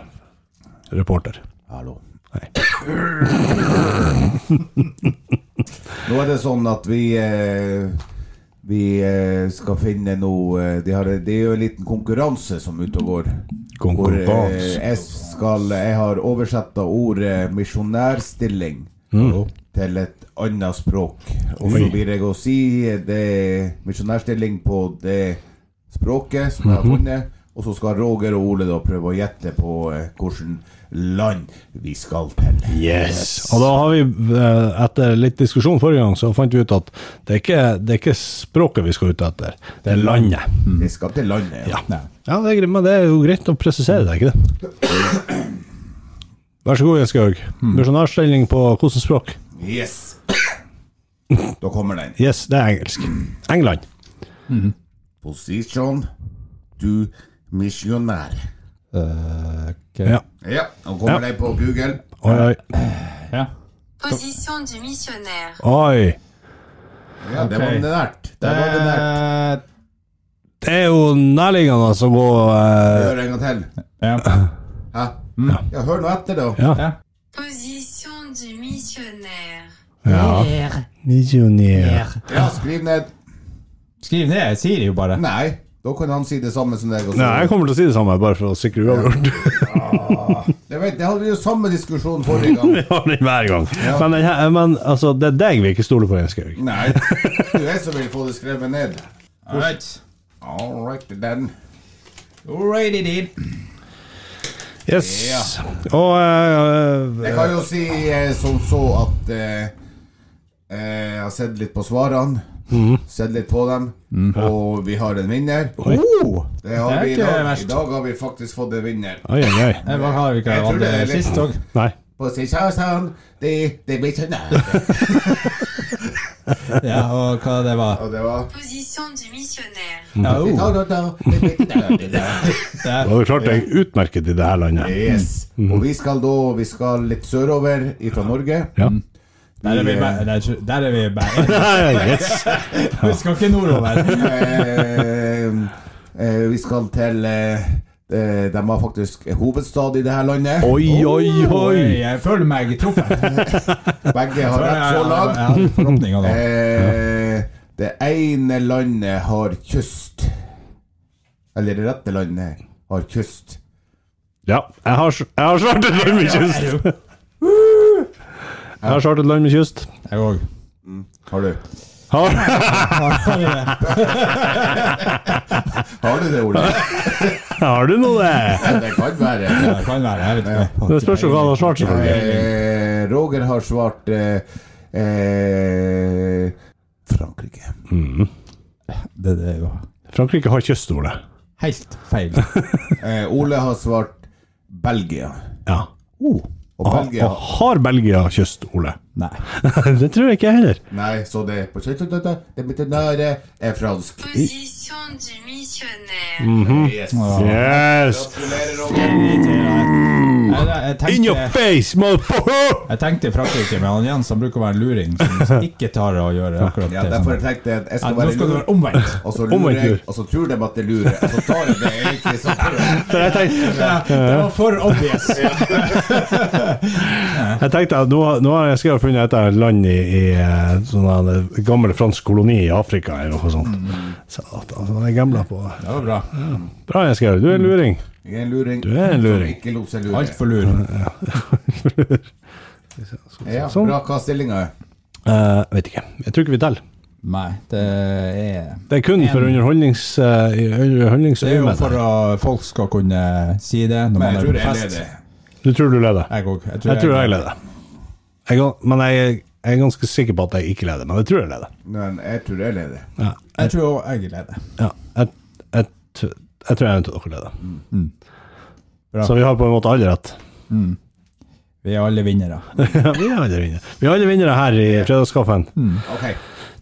reporter.
Hallo.
Hei.
Nå er det sånn at vi eh, Vi eh, skal finne noe eh, de har, Det er jo en liten konkurranse som er ute og går. Hvor eh,
Konkurranse.
jeg, skal, jeg har oversetta ordet misjonærstilling til et annet språk. Og så
Mm. Oi.
blir jeg å si eh, det misjonærstilling på det språket som jeg har
Mhm.
funnet. Og så skal Roger og Ole da prøve å gjette på eh, hvilket land vi skal til.
Yes. Og da har vi, eh, etter litt diskusjon forrige gang, så fant vi ut at det er ikke, det er ikke språket vi skal ut etter, det er landet.
Vi skal til landet.
Mm. Ja.
Nei.
Ja, det er, greit, men det er jo greit å presisere det, ikke det? Vær så god, Jens Georg. Misjonærstilling på hvilket språk? [COUGHS]
Yes! Da kommer den.
Yes, det er engelsk. England.
Position du misjonær.
Eh, ok.
Ja.
Ja, nå kommer
Ja.
den på Google.
Oi, oi.
Ja.
Position du missionnaire.
Oi.
Ja, det var
Ok.
nært. Der var det nært.
Eh.
Det er jo nærliggende å gå eh,
Hør en gang til.
ja.
Hæ? Mm. Ja, hør nå etter, da.
Ja.
Ja.
Position du missionnaire.
ja. Misjonær.
Ja, skriv ned.
Skriv ned, jeg sier det jo bare.
Nei, da kan han si det samme som deg. og så-
Nei, jeg kommer til å si det samme, bare for å sikre [LAUGHS] uavgjort.
Jeg vet, det hadde vi jo samme diskusjon forrige
[LAUGHS]
gang.
Vi har den hver gang. Men, den her, men altså, det er deg vi ikke stoler på, Jens Georg.
Nei, du er som vil få det skrevet ned.
All right.
All right, then.
All right, it is.
Yes.
Ja.
Og eh,
Jeg kan jo si eh, som så at eh, eh, Jeg har sett litt på svarene. Sett litt på dem. Og vi har en vinner.
Oh,
Det har vi i
ikke
dag.
verst.
I dag har vi faktisk fått en vinner.
Oi, oi, oi.
jeg var har vi ikke
Jeg tror
hatt
det er
det
litt-
sist òg.
Nei.
På sin kjæreste, det, det blir ikke nære.
Ja, og hva det var.
Og det var
Position du missionnaire.
Ja,
Vi
oh.
tar det da, det blir ikke nære.
Du hadde klart deg utmerket i det her landet.
Yes. Og vi skal da vi skal litt sørover fra Norge.
Ja. [LAUGHS]
Der er vi bare. der- Der er vi [LAUGHS] bare.
Yes.
Vi skal ikke nordover.
Eh, eh, vi skal til eh, eh, De har faktisk hovedstad i det her landet.
Oi, oi, oi.
Jeg føler meg truffet.
Begge har rett så langt.
sånn. Forhåpninger, da.
Eh, Det ene landet har kyst. Eller det rette landet har kyst.
Ja, jeg har, jeg har chartet land med kyst! [LAUGHS] Jeg har chartet land med kyst.
Jeg òg.
Har du
Har, [LAUGHS]
Har du det ordet?
har du noe det?
Det kan være.
Det kan være, jeg vet ikke.
Det spørs jo hva han har svart, selvfølgelig.
Eh, Roger har svart eh, eh, Frankrike.
Det, det er jo
Frankrike har kyst, Ole.
helt
[LAUGHS]
feil.
Eh, Ole har svart Belgia.
Ja.
Og
Ah,
Belgia
Og har Oh, Belgia kyst, Ole?
Nei.
[LAUGHS] Det tror jeg ikke jeg heller.
Nei, så det er på Det mitt nære er fransk.
Position du missionnaire.
Yes.
Yes!
Gratulerer, Roger.
Nei, nei, Jeg
In your
tenkte,
face, motherfucker!
jeg tenkte Frankrike, men han Jens han bruker å være en luring som ikke tar å gjøre akkurat
Ja,
det. som-
derfor tenkte jeg at jeg
Nei,
skal
Nå
være
skal du
lur.
være omvendt.
Og så
Omvendt
Altså, lurer jeg,
lur.
og så tror de at det lurer. Og så tar jeg det egentlig som
Så jeg tenkte,
Ja, det var for obvious.
jeg tenkte at nå, nå har jeg skrevet funnet et land i, i eh, sånn en gammel fransk koloni i Afrika eller noe sånt. Så at, altså, jeg gambla på
Det var bra.
Bra, jeg skrev. Du er en luring.
Jeg er en luring.
[LAUGHS] Du er en luring.
Som ikke lot seg lure.
Altfor lur.
Ja,
Sånn.
bra hva stillinga er.
Eh, vet ikke. Jeg tror ikke vi teller.
Nei, det er
Det er kun for underholdnings, eh, i
Det er jo
underholdningsøyemed.
for at folk skal kunne si det når
Men
man
jeg
er
tror
på
jeg
fest.
leder.
Du tror du leder?
Jeg òg. Jeg
Jeg tror jeg leder. Jeg, gan- men jeg, jeg er ganske sikker på at jeg ikke leder, men jeg tror jeg leder.
Men jeg tror jeg leder.
Jeg tror også jeg leder.
Ja, jeg, jeg, tr- jeg tror jeg eventuelt dere leder.
Mm. Bra.
Så vi har på en måte alle
[LAUGHS]
rett.
Vi er alle vinnere.
Ja, vi er alle vinnere. Vi er alle vinnere her i fredagskaffen.
Ok.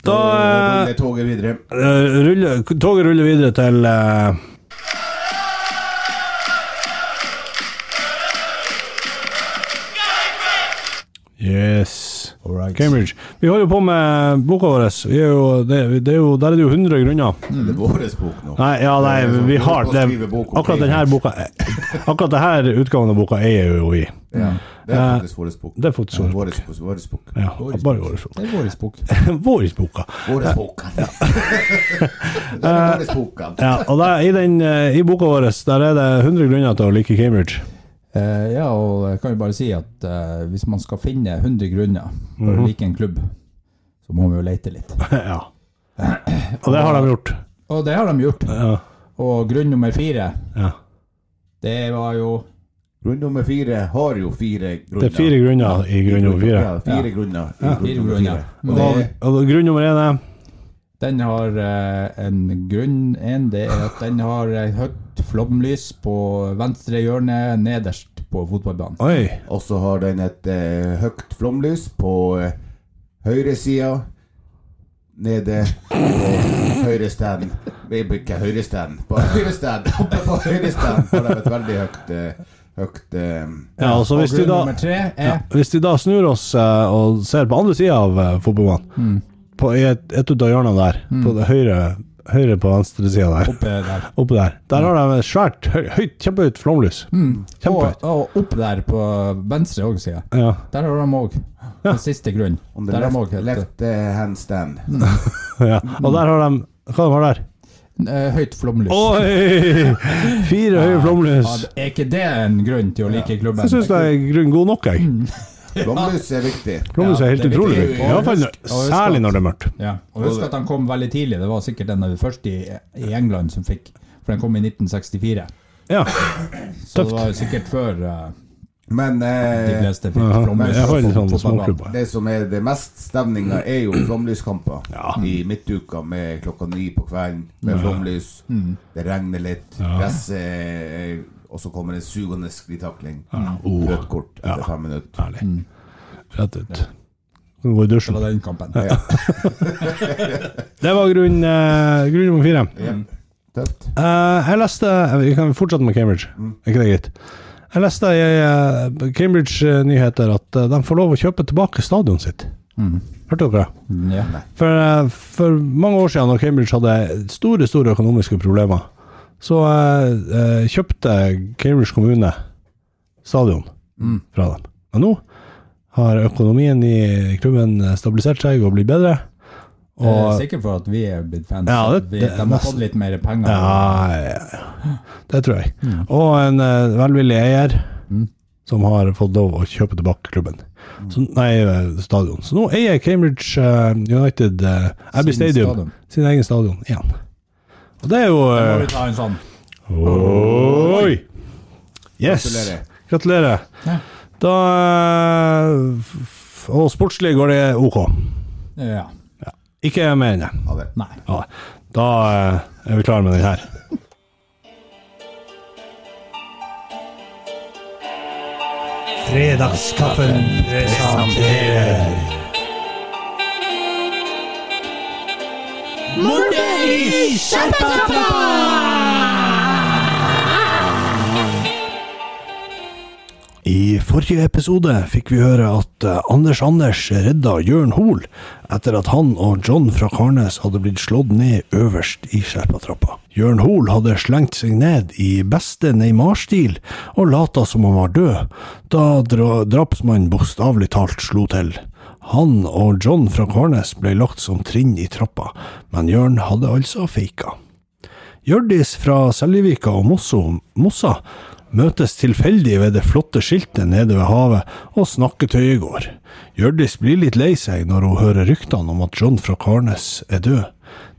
Da
Da
eh,
er toget videre. [CLEARS THROAT]
eh, ruller, toget ruller videre til eh, Yes.
All right.
Cambridge. Vi holder jo på med boka vår. Vi er jo, det, det er jo, der er det jo 100 grunner.
Det er vår bok nå.
Nei, ja, nei,
Det er sånn,
vi
du
har
må
det,
skrive bok om
Akkurat denne
Cambridge.
boka eh, Akkurat denne utgaven av boka eier jo vi.
Ja, det er faktisk vår bok.
Det er faktisk
Ja,
vår Ja,
vår bok. Vår bok.
bare vår bok.
Det er vår bok.
[LAUGHS] Vår boka.
Vår bok. [LAUGHS] Det er vår bok.
[LAUGHS] Ja, og der, i, den, eh, I boka vår der er det 100 grunner til å like Cambridge.
Eh, ja, og jeg kan jo bare si at eh, hvis man skal finne 100 grunner for
Mhm.
å like en klubb, så må vi jo lete litt.
Ja. Og det har de gjort.
Og det har de gjort.
Ja.
Og grunn nummer fire,
ja.
det var jo
Grunn nummer fire har jo fire grunner.
Det er fire grunner i grunn nummer fire.
Ja, fire grunner. i grunn
Fire
nummer
grunner.
fire. Og
Og,
det,
og grunn nummer én er
Den har eh, en grunn en, det er at den har eh, høyt flomlys på venstre hjørne nederst på fotballbanen.
Oi.
og så har den et eh, høyt flomlys på eh, høyre sida, nede på høyre stand. Nei, Ikke høyre stand, på høyre stand. Oppe på høyre stand har de et veldig høyt, eh, høyt eh,
Ja, og så
Og
hvis de
grunn
da
nummer tre er
Hvis de da snur oss eh, og ser på andre sida av eh,
Mm.
fotballbanen, på i et, et ut av hjørnene der, på det høyre, høyre på venstre sida der,
oppe der.
oppe der, der har de et svært, høy- høyt, kjempehøyt flomlys. Kjempehøyt.
Mm. Og, og opp der på venstre òg, sier jeg.
Ja.
Der har de òg den siste grunnen.
on the
Der har de
left,
også et
left eh, hand stand.
ja. Og der har de Hva de har der?
eh, høyt flomlys.
Oi! Fire høye flomlys.
Ja, er ikke det en grunn til å like klubben?
Jeg syns det er grunn god nok, jeg.
Flomlys er viktig.
Flomlys
Ja,
er helt
det er
utrolig
viktig.
viktig. Iallfall
Og husk- og husk
særlig
at-
når det er mørkt.
Ja, og Husk at han kom veldig tidlig. Det var sikkert en av de første i, i England som fikk. For den kom i 1964.
Ja.
Så
Tøft.
det var jo sikkert før eh,
Men
de
eh,
fleste fikk
Men
flomlys.
jeg har litt sånn
på fotballbanen.
småklubber.
Det som er det mest stemninga, er jo flomlyskamper.
Ja.
I midtuka med klokka ni på kvelden, med flomlys. Det regner litt, gresset er- Og så kommer det en sugende sklitakling.
Oh.
Rødt kort etter fem minutter.
Herlig. Rett ut. Kan gå i
Det
dusjen.
var den kampen.
Ja.
Det var grunn, eh, grunn nummer fire.
Tøft.
Eh, jeg leste Vi kan fortsette med Cambridge. Er ikke det greit? Jeg leste i eh, Cambridge eh, Nyheter at eh, de får lov å kjøpe tilbake stadionet sitt. Hørte dere det?
Ja.
For, eh, for mange år siden, når Cambridge hadde store store økonomiske problemer, så eh, eh, kjøpte Cambridge kommune stadion fra dem. eh, Men nå har økonomien i klubben stabilisert seg og blitt bedre,
Det er
Og,
sikkert for at vi er blitt fans.
Ja, det-
at vi,
det er
de har fått
nesten-
litt mer penger.
ja, ja, ja. det tror jeg.
Mm.
Og en eh, velvillig eier som har fått lov å kjøpe tilbake klubben.
Mm.
Så, nei, eh, stadion. Så nå eier Cambridge eh, United eh, Abbey
Sin
Stadium
stadion.
sin egen stadion igjen. Og det er jo
Da må
eh,
vi ta en sånn.
Oi! Yes.
Gratulerer.
Gratulerer.
Ja.
Da eh, f- Og sportslig går det OK.
Ja.
Ikke mer enn det.
Ha det.
Nei.
Ja, da eh, er vi klare med den her. Fredagskaffen presenterer I forrige episode fikk vi høre at eh, Anders Anders redda Jørn Hoel etter at han og John fra Karnes hadde blitt slått ned øverst i Skjerpatrappa. Jørn Hoel hadde slengt seg ned i beste Neymar-stil og lata som han var død, da dra drapsmannen bokstavelig talt slo til. Han og John fra Karnes ble lagt som trinn i trappa, men Jørn hadde altså faka. Hjørdis fra Seljevika og Mosso, Mossa møtes tilfeldig ved det flotte skiltet nede ved havet og snakker tøyegård. Hjørdis blir litt lei seg når hun hører ryktene om at John fra Karnes er død.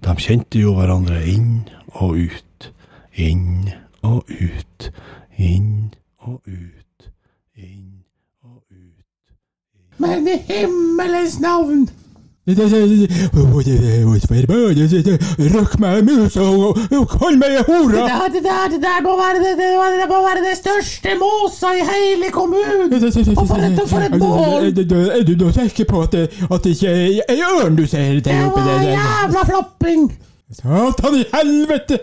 De kjente jo hverandre inn og ut, inn og ut, inn og ut, inn og ut.
Men i himmelens navn!
Røkk meg i musa og kall meg hora!
Ja, det der, det der må være det, det, det må være det største mosa i hele kommunen!
Og
for et- og for et mål!
Er du da sikker på at det, at det ikke er ei ørn du ser
Det
der oppe?
var
der?
jævla flopping!
Satan i helvete!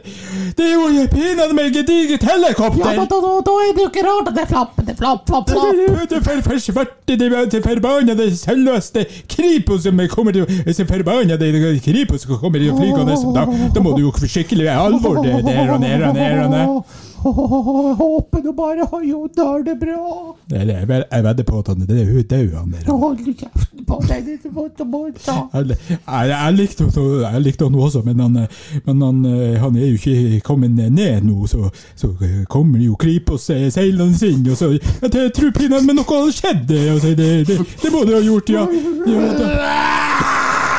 Det er jo pinadø meg et digert
Ja, da,
helikopter!
da, da, da er det jo ikke rart at det er flapp, det er flapp, flapp,
Det
flapp.
er det for- for svarte, det er det forbannede selveste Kripos som kommer til å så Forbannede Kripos som kommer til å flygende! Da, da må du jo skikkelig være alvor det der og der og der. og der.
Jeg håper du bare har jo dør det bra.
Eller, Jeg ved- jeg vedder på at han det er hun død, han der.
Hold kjeften på deg, det er vondt å motta.
Jeg, jeg, jeg, likte, også- jeg likte han også, men, han, eh, men han, eh, han er jo ikke kommet ned nå. Så, så eh, kommer jo Kripos eh, seilende inn, og så Jeg t- tror pinadø men noe har skjedd! eh, Altså, det, det, det må det ha gjort, ja. ja da.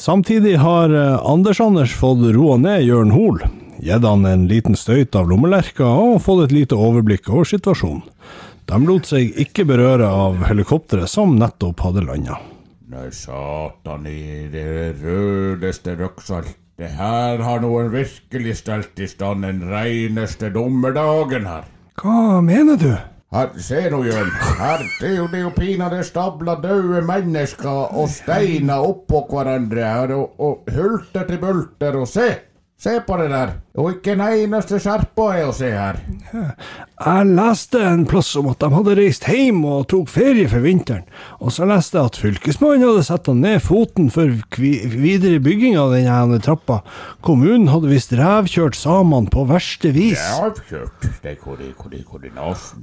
Samtidig har eh, Anders Anders fått roa ned Jørn Hoel, gitt han en liten støyt av lommelerka og fått et lite overblikk over situasjonen. De lot seg ikke berøre av helikopteret som nettopp hadde landa.
Nei, satan i det rødeste røksalt. Det her har noen virkelig stelt i stand den reineste dommedagen her.
Hva mener du?
Her, se nå, Jørn. Her det er jo det er jo pinadø stabla døde mennesker og steiner oppå hverandre her, og, og hulter til bulter, og se! Se på det der. Og ikke en eneste skjerpa er å se her.
Jeg leste en plass om at de hadde reist hjem og tok ferie for vinteren, og så leste jeg at fylkesmannen hadde satt han ned foten for kvi videre bygging av den ene trappa. Kommunen hadde visst revkjørt samene på verste vis.
Avkjørt. Det er hvor i- hvor i koordinasen.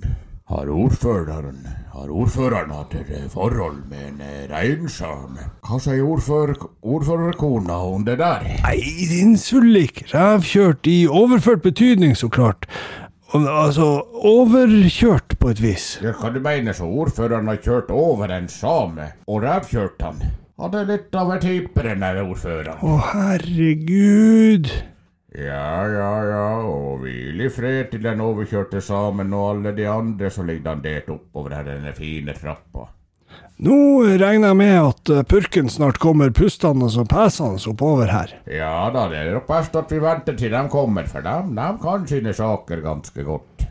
Har ordføreren, har ordføreren hatt et eh, forhold med en eh, reinsame? Hva sier ordfører, ordførerkona om det der?
Nei, din sullik. Revkjørt i overført betydning, så klart. Og, Altså overkjørt på et vis.
Ja, Hva du mener så ordføreren har kjørt over en same og revkjørt han? Han er litt av en type, den der ordføreren.
Å, herregud.
Ja, ja, ja, og hvil i fred til den overkjørte samen og alle de andre som ligger dandert oppover her denne fine trappa.
Nå regner jeg med at eh, purken snart kommer pustende og pesende oppover her.
Ja da, det er nok best at vi venter til de kommer, for dem, dem kan sine saker ganske godt.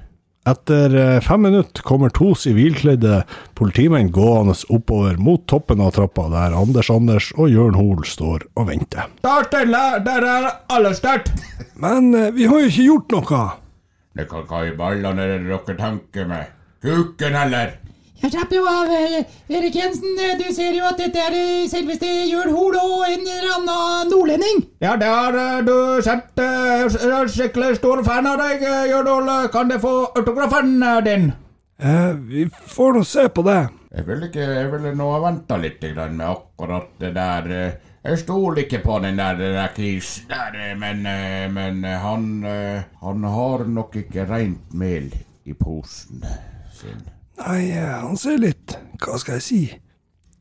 Etter eh, fem minutter kommer to sivilkledde politimenn gående oppover mot toppen av trappa, der Anders Anders og Jørn Hoel står og venter.
Start den der! Der er alle start!
Men eh, vi har jo ikke gjort noe.
Det kan hva i ballene er det dere tenker med? Kuken, heller!
Jeg slapp jo av, eh, Erik Jensen. Eh, Du ser jo at dette er eh, selveste Jørn Hoel og en eller annen nordlending.
Ja, det har du sett. Skikkelig stor fan av deg, eh, Jørdal. Kan jeg få autografen din?
Eh, vi Eh, får nå se på det.
Jeg vil ikke Jeg ville nå ha venta litt grann med akkurat det der eh, Jeg stoler ikke på den der, den der Chris der, eh, men, eh, men eh, han eh, Han har nok ikke rent mel i posen sin.
Nei, eh, han ser litt Hva skal jeg si?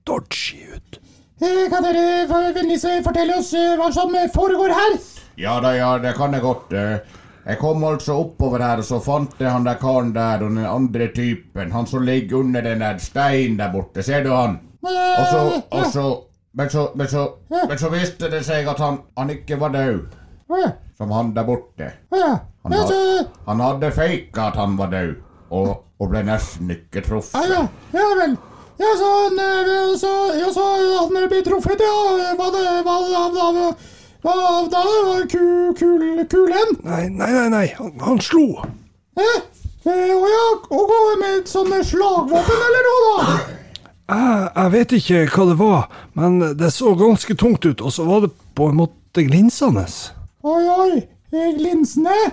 Dodgy ut.
Eh, Kan dere for- vennligst eh, fortelle oss eh, hva som eh, foregår her?
Ja da, ja, det kan jeg godt. eh. Jeg kom altså oppover her, og så fant jeg han der karen der og den andre typen. Han som ligger under den der steinen der borte. Ser du han? Og så, og så Men så, men så, men så viste det seg at han, han ikke var død.
Å,
Som han der borte.
ja.
Han,
Ja,
had,
så-
han hadde faka at han var død, og, og ble nesten ikke
Ja, ja.
truffet.
Ja vel. Ja, så han eh, så, ja, så han ble truffet, ja. Hva det Hva da? Hva da? Hva da? Hva- ku- kul- Kulen?
Nei, nei, nei, nei. Han, han slo.
Eh? Eh, Å ja, å gå med et sånt slagvåpen, eller noe, da?
Jeg, Eh, jeg vet ikke hva det var, men det så ganske tungt ut, og så var det på en måte glinsende.
Oi, oi. eh, Glinsende.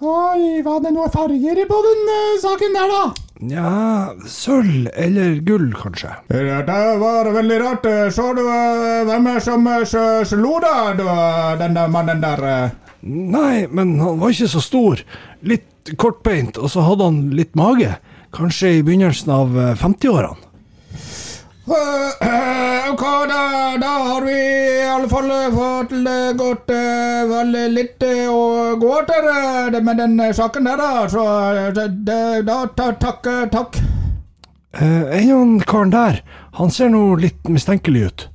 Oi, var det noen farger på den eh, saken der, da?
Nja, sølv eller gull, kanskje.
Det var veldig rart. Eh, Så du hvem som eh, slo deg, eh, den der mannen der? eh?
Nei, men han var ikke så stor. Litt kortbeint, og så hadde han litt mage. Kanskje i begynnelsen av eh, 50-årene.
Eh, [CLEARS THROAT] Ok, da, da har vi i alle fall eh, fått eh, gått eh, vel litt eh, å gå etter eh, det- med den eh, saken der, da. Så eh, det- det- da ta, takk, eh, takk.
Eh, en av han karen der, han ser nå litt mistenkelig ut.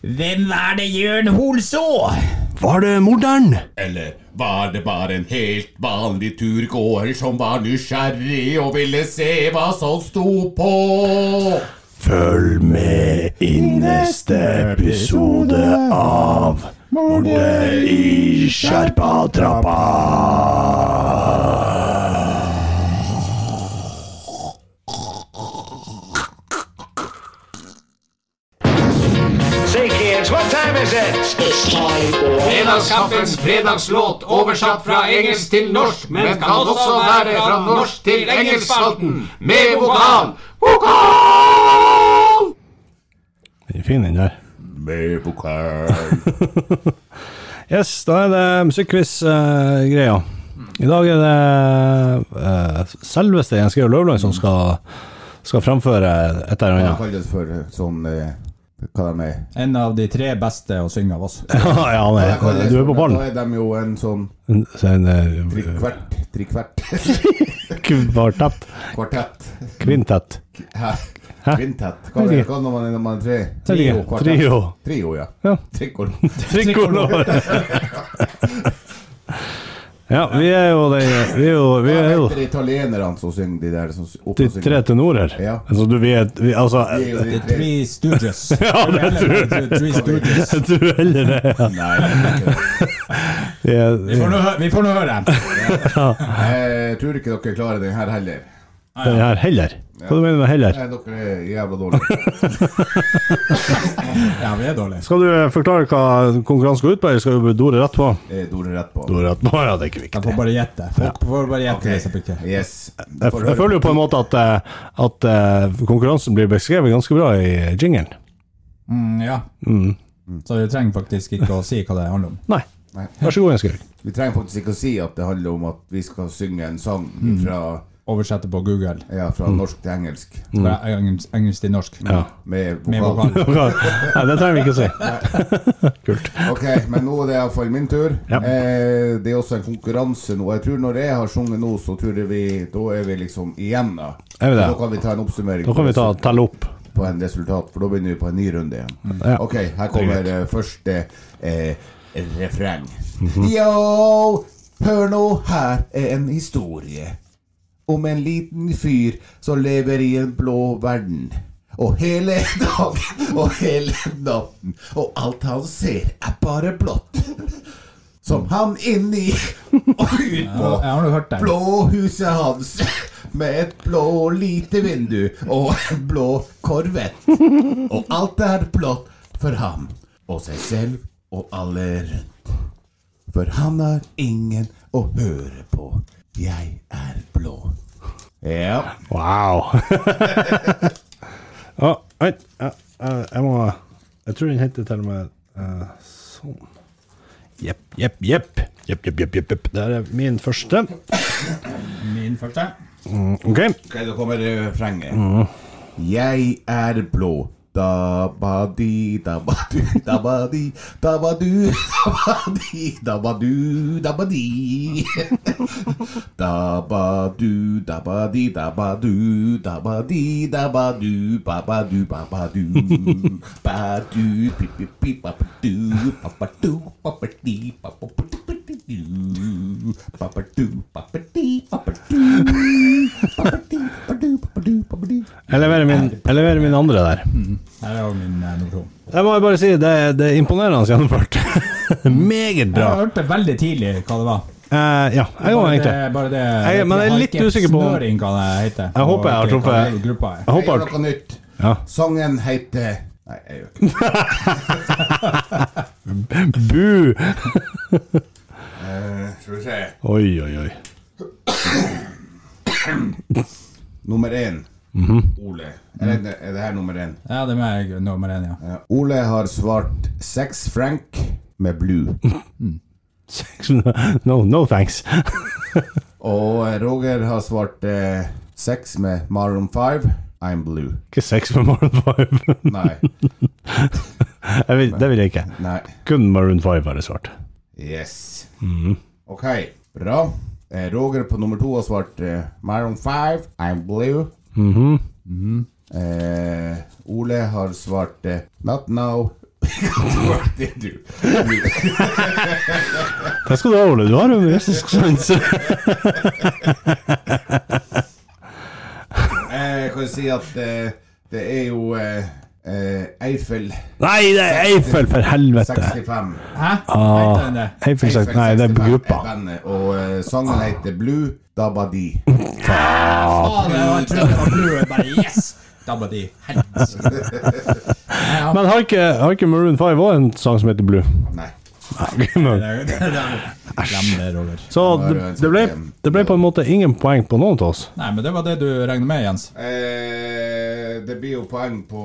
Hvem er det Jørn Holså?
Var det morderen?
Eller var det bare en helt vanlig turgåer som var nysgjerrig og ville se hva som sto på?
Følg med i neste episode av Mordet i Sherpatrappa.
Say, kids, what time is it?
Fredagskaffens fredagslåt oversatt fra engelsk til norsk, men kan også være fra norsk til engelskspalten med vokal. Vokal!
Fin den der.
Med
[LAUGHS]
vokal.
Yes, da er det musikkquiz-greia. I dag er det eh, selveste Jens Georg Løvland som skal, skal fremføre et eller
Det
annet.
kalles for sånn Hva de er
En av de tre beste å synge av oss.
[LAUGHS]
[LAUGHS]
Ja, ja, nei, du er på ballen.
Da er de jo en sånn
Så en eh,
trikvert Trikvert.
[LAUGHS]
kvartett.
Kvartett.
Kvintett.
Hæ? Kvintett. Hva er det hva når man er når man er tre? Trio. kvartett.
Trio.
Trio, ja.
Ja. [LAUGHS]
Trikol.
Trikolor. [LAUGHS] ja, vi er jo de Vi er jo, vi
Hva
er jo
heter de italienerne som synger de der som opp
de
og synger?
tre tenorer.
Ja.
Altså, du, vi er vi, Altså,
De er jo de
The
tre.
Three
[LAUGHS]
Stooges.
[LAUGHS] Ja, det tror jeg.
Three Stooges.
jeg tror heller det. Ja.
Nei, det er ikke det.
De er,
Vi får nå hø- Vi får nå høre.
[LAUGHS] jeg tror ikke dere klarer den her heller.
den her heller. Hva du mener du med heller?
Nei, dere er jævla dårlige.
Ja, vi er dårlige.
Skal du eh, forklare hva konkurransen går ut på, eller skal du dore rett på?
Jeg doler rett på.
Dore rett på, ja, det er ikke
De får
viktig.
bare gjette. Folk får bare gjette. hvis de ikke-
Ok, Yes.
Jeg, jeg føler jo på en måte at, eh, at eh, konkurransen blir beskrevet ganske bra i jingelen.
Mm, ja. Så vi trenger faktisk ikke å si hva det handler om.
Nei.
Nei.
Vær så god, Jens Georg.
Vi trenger faktisk ikke å si at det handler om at vi skal synge en sang fra,
Oversette på Google.
ja, fra
Mm.
norsk til engelsk.
Fra engelsk, engelsk til norsk.
Med
Med
vokal.
vokal.
Nei, det trenger vi ikke å si. Kult.
Ok, men nå er det iallfall min tur.
Ja.
Eh, det er også en konkurranse nå. Jeg tror når jeg har sunget nå, så tror jeg vi Da er vi liksom igjen, da.
Er vi det?
Da kan vi ta en oppsummering
Da kan vi ta telle opp.
på en resultat, for da begynner vi på en ny runde igjen.
Ja.
Ok, her kommer eh, første eh, refreng. Yo, hør nå, her er en historie om en liten fyr som lever i en blå verden. Og hele [LAUGHS] dagen og hele natten, og alt han ser er bare blått. Som han inni og ut på.
Jeg har nå hørt den.
Blå huset hans med et blå lite vindu og en blå korvett. Og alt er blått for ham og seg selv og alle rundt. For han har ingen å høre på. Jeg er blå. Ja.
Wow. Å, vent. Jeg, jeg, jeg må Jeg tror den heter til og med eh, sånn. Jepp, jepp, jepp. Jepp, jepp, jepp, jepp, jepp. Det her er min første.
Min første.
OK.
Ok, da kommer eh, refrenget. Jeg er blå. Dabadi, dabadu, dabadi, dabadu, dabadi, dabadu, dabadi. Dabadu, dabadi, dabadu, dabadi, dabadu, babadu, babadu. Badu, pipipi, babadu, babadu, babadi, babadu, babadu, babadu, babadi, babadu.
Jeg leverer min, jeg leverer min andre der.
Her er jo min eh, nummer to.
Jeg må jo bare si det, er- det er imponerende gjennomført. [LAUGHS] Meget bra.
Jeg hørte veldig tidlig hva det var.
Eh, ja, jeg òg,
Bare
egentlig.
det- Bare det,
Jeg- men jeg er litt
har ikke
usikker på om-
snøring hva det heter.
Jeg håper jeg har
Og ikke hva
truffet-
Gruppa er.
Jeg
Jeg gjør
håper
noe nytt.
Ja.
Sangen heter Nei, jeg gjør ikke det.
Bu! [LAUGHS]
Eh, Skal vi se.
Oi, oi, oi.
Nummer én.
Mhm.
Ole. Er det, er det her nummer én?
Ja, det er meg nummer én, ja.
Ja. Ole har svart Sex Frank med
[LAUGHS]
Blue.
No, no thanks.
Og eh, Roger har svart eh, Sex med Maroon 5. I'm blue.
Ikke sex med Maroon 5.
Nei.
[LAUGHS] Jeg vil, det vil jeg ikke.
Nei.
Kun Maroon 5 har det svart.
Yes.
Mm.
Ok, bra. Eh, Roger på nummer to har svart eh, Maroon 5. I'm blue.
Mm-hmm.
Mm-hmm. eh, Ole har svart eh, Not now. [LAUGHS] What did you do?
Takk skal du ha, Ole. Du har jo mystisk sans.
Eh, Jeg kan si at eh, det er jo eh, eh, Eiffel
[LAUGHS] Nei, det er Eiffel, for helvete!
65.
Hæ?
Ah,
Heter den det?
Eiffel sagt, nei, det er
65
gruppa. Ah.
bandet, og eh, sangen heter Blue Dabadi.
Faen, jeg trodde Ah, det var blue. Jeg bare yes! Dabba di. Helvete. Ja,
Men har ikke, har ikke Maroon 5 òg en sang som heter Blue?
Nei.
Nei, men-
det- det- det- Glem det, Roger.
Så det, det, ble, det ble på en måte ingen poeng på noen av oss.
Nei, men det var det du regner med, Jens.
Eh, det blir jo poeng på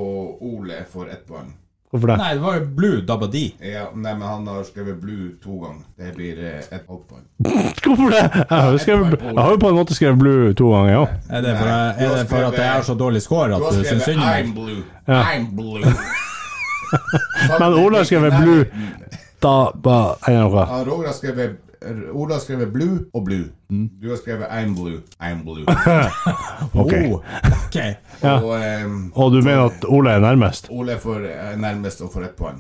Ole for ett poeng.
Hvorfor det?
Nei, det var jo blue dabba di.
Ja, nei, men han har skrevet Blue to ganger. Det blir eh, ett halvt poeng.
[LAUGHS] Hvorfor det? Jeg har jo skrevet- jeg har jo på en måte skrevet Blue to ganger, ja.
Er det for,
Nei, du
er
har
det for at jeg har så dårlig score
Du
at
eh,
har
du syns
skrevet
synd om meg?
I'm blue. I'm blue.
[LAUGHS] Men Ole har skrevet Blue. Da ba, eller noe.
Han Roger har skrevet eh, Ola har skrevet blue og blue.
Mm.
Du har skrevet I'm blue, I'm
[LAUGHS]
blue.
Ok.
Oh, ok.
Og ehm,
Og du mener at Ole er nærmest?
Ole får eh, nærmest og får ett poeng.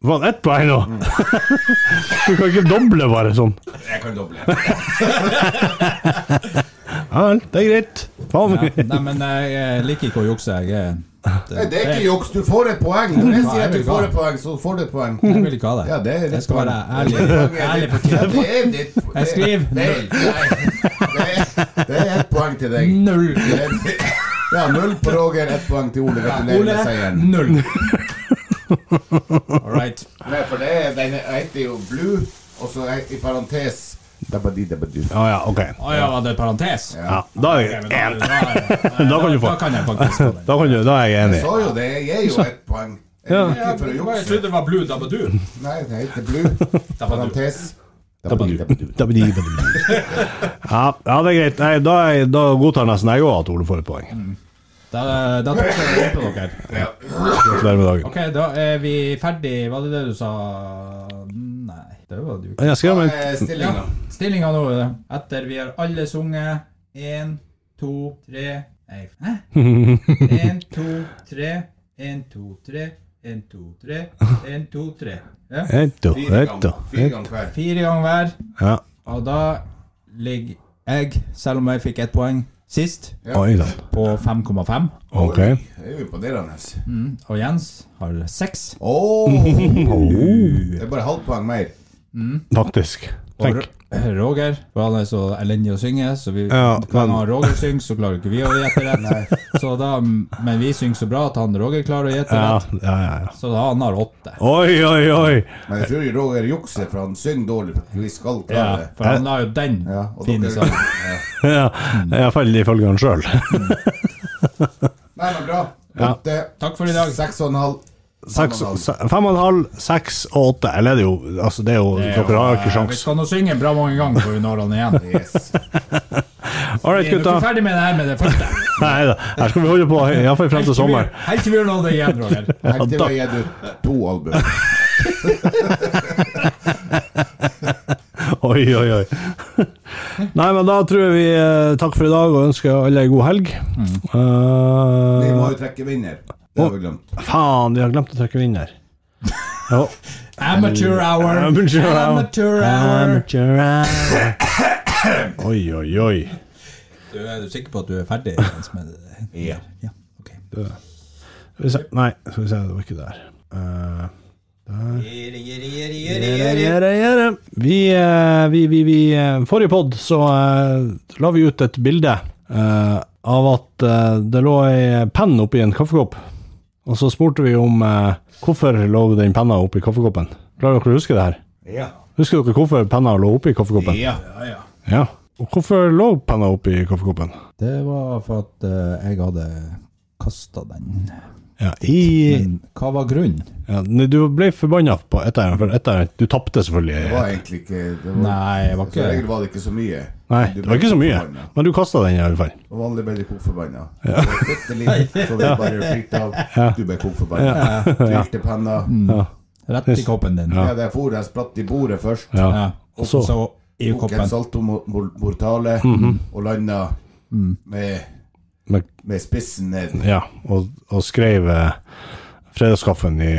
Var det ett poeng nå? [LAUGHS] Du kan ikke doble bare sånn.
Jeg
[LAUGHS]
kan doble.
Ja vel, det er greit. Faen.
Nei, men jeg, jeg liker ikke å jukse. Jeg, er-
Nei, det er ikke juks, du får et poeng. Når jeg sier at du
Nei,
får et poeng, så får du et poeng.
jeg vil ikke ha det.
Ja, det er ditt
jeg skal være
poeng.
ærlig, ærlig
Det er ditt-
fortjent.
det er ditt poeng.
Jeg skriver.
Det er- nei, det er- Det er ett poeng til deg.
Null.
Det er- Ja, null på Roger, ett poeng til Ole. Gratulerer
Ole,
med seieren.
null. All right.
Nei, for det er, den heter jo Blue, og så er- i parentes Dabadi, dabadi.
[LAUGHS] Ja, ja, ok.
Å ja, var det parentes?
Ja, da er
Ok, men
jeg
da-
enig.
da-
[LAUGHS] Da kan du få.
Da kan jeg faktisk få den.
Da, kan du, da er jeg enig. [LAUGHS]
Så jo det, jeg gir jo ett poeng. Er det ikke for å
Jeg
jukse?
trodde det var blue dabadu.
Nei, det heter Blue. Parentes.
Dabadu, dabadi, dabadi. Ja, ja, det er greit. Nei, da, er, da godtar nesten jeg òg at Ole får et poeng.
Mm. Da, da tok jeg det på dere.
Gratulerer med dagen.
Ok, da er vi ferdig. Var det det du sa? Nei, det var det jo ikke.
Jeg skrev en
Eh,
Ja,
Stillinga.
stillinga nå. Etter vi har alle sunget. Én, to, tre Nei, hæ? Én, to, tre. Én, to, tre. Én, to, tre. Én, to, tre. Ja.
Ett og
Fire
ett
ganger.
og
Fire
ett.
ganger hver.
Fire ganger hver.
Ja.
Og da ligger jeg, selv om jeg fikk ett poeng sist,
Oi sann.
på 5,5.
Ok.
Det er jo imponerende.
Og Jens har seks.
Oh.
[LAUGHS] Oh.
Åh, Det er bare halvt poeng mer.
Faktisk. Tenk.
Og R- Roger var det så elendig å synge, så vi,
Ja,
hver gang
men-
Roger synger, så klarer ikke vi å gjette [LAUGHS] rett. Så da, men vi synger så bra at han Roger klarer å gjette
Ja,
rett,
ja, ja. ja.
så da han har åtte.
Oi, oi, oi!
Men jeg tror jo Roger jukser, for han synger dårlig. for Vi
Ja,
skal klare det.
for han la jo den
Ja, og
fine
dere-
sangen.
Ja.
Ja, Iallfall ifølge han sjøl.
Nei, men bra.
Ja.
Åtte.
Takk for i dag.
Seks og en halv.
Seks-
Fem og en halv.
se- Fem og en halv, seks og åtte. Eller det er jo altså det er jo, [LAUGHS] Dere har jo ikke
Vi
sjans.
skal nå synge bra mange ganger før vi når han
[LAUGHS]
igjen.
Yes.
All right,
Vi er jo ikke
gutta.
ferdig med det her med det første.
Nei da. Her skal vi holde på iallfall frem til sommeren.
Helt til vi gjør noe av det igjen, Roger.
Her til vi har gitt ut to album.
Oi, oi, oi. Nei, men da tror jeg vi eh, takk for i dag og ønsker alle ei god helg. Eh,
Vi må jo trekke vinner. Det har vi glemt.
faen, vi har glemt å trykke vinner. Ja.
Amateur hour.
Amateur hour.
Amateur hour.
Amateur hour. Oi, oi, oi.
Du, er du sikker på at du er ferdig? Jens, med det?
Ja.
ja. ok.
Skal vi se. Nei, skal vi se, det var ikke der. Eh, Gjøre, gjøre. Vi, eh, vi, vi, vi eh, Forrige pod så eh, la vi ut et bilde eh, av at eh, det lå ei penn oppi en kaffekopp. Og så spurte vi om eh, hvorfor lå den penna oppi kaffekoppen. Klarer dere å huske det her?
Ja.
Husker dere hvorfor penna lå oppi kaffekoppen?
ja.
Ja. Og hvorfor lå penna oppi kaffekoppen?
Det var for at eh, jeg hadde kasta den.
Ja, i,
Men hva var grunnen?
ja, nei, du ble forbanna på etteren, for etteren Du tapte
Det
selvfølgelig.
var egentlig ikke det var,
Nei, jeg var
Som regel
ikke
var det ikke så mye.
Nei,
Du
det
ble
var ikke så mye,
forbanna.
men du kasta den i alle fall.
Og vanlig ble du kokforbanna. Ja. Så vi bare flirte av. Du ble kokforbanna. Tvilte penna.
Rett i koppen din.
Ja, der for jeg spratt i bordet først.
Ja.
Ja. Og så i
Tok en
koppen. Mhm.
salto mo- mor- mortale og landa med,
Men
med spissen ned.
Mm.
Ja, og, og skrev eh, fredagskaffen i,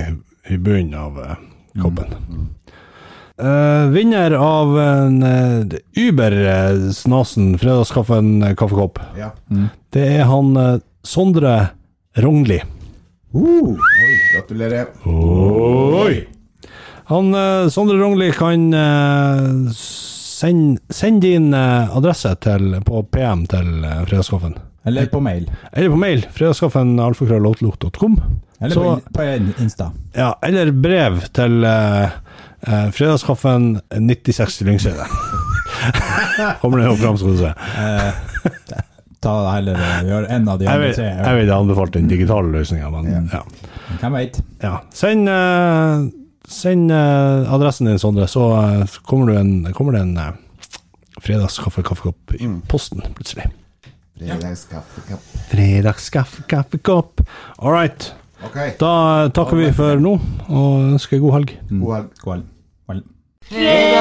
i bunnen av eh, koppen.
Mm,
Eh, vinner av en eh, Uber-snasen fredagskaffen-kaffekopp,
Ja.
eh, det er han eh, Sondre Rognli.
Oi, gratulerer.
Oi! Han eh, Sondre Rognli kan eh, send- send din eh, adresse til, på PM til eh, fredagskaffen.
Eller på mail.
Eller på mail fredagskaffen.alfakrølloutlook.com.
Eller på, in- på en Insta.
Ja, eller brev til eh, eh, fredagskaffen 96 i Lyngseidet. [LAUGHS] Kommer det jo fram, skal du se.
Ta heller og gjør en av de
Jeg
andre
vil-
tre.
jeg ville anbefalt den digitale løsninga, men ja.
Hvem veit?
ja. Send, eh, send eh, adressen din, Sondre, så eh, kommer, du en, kommer det en eh, fredagskaffekaffekopp i posten plutselig.
Fredagskaffekopp.
Fredagskaffekaffekopp. All right.
Ok,
Da eh, takker vi for nå, og ønsker god helg.
god helg.
Skål. Vel.
Fredag.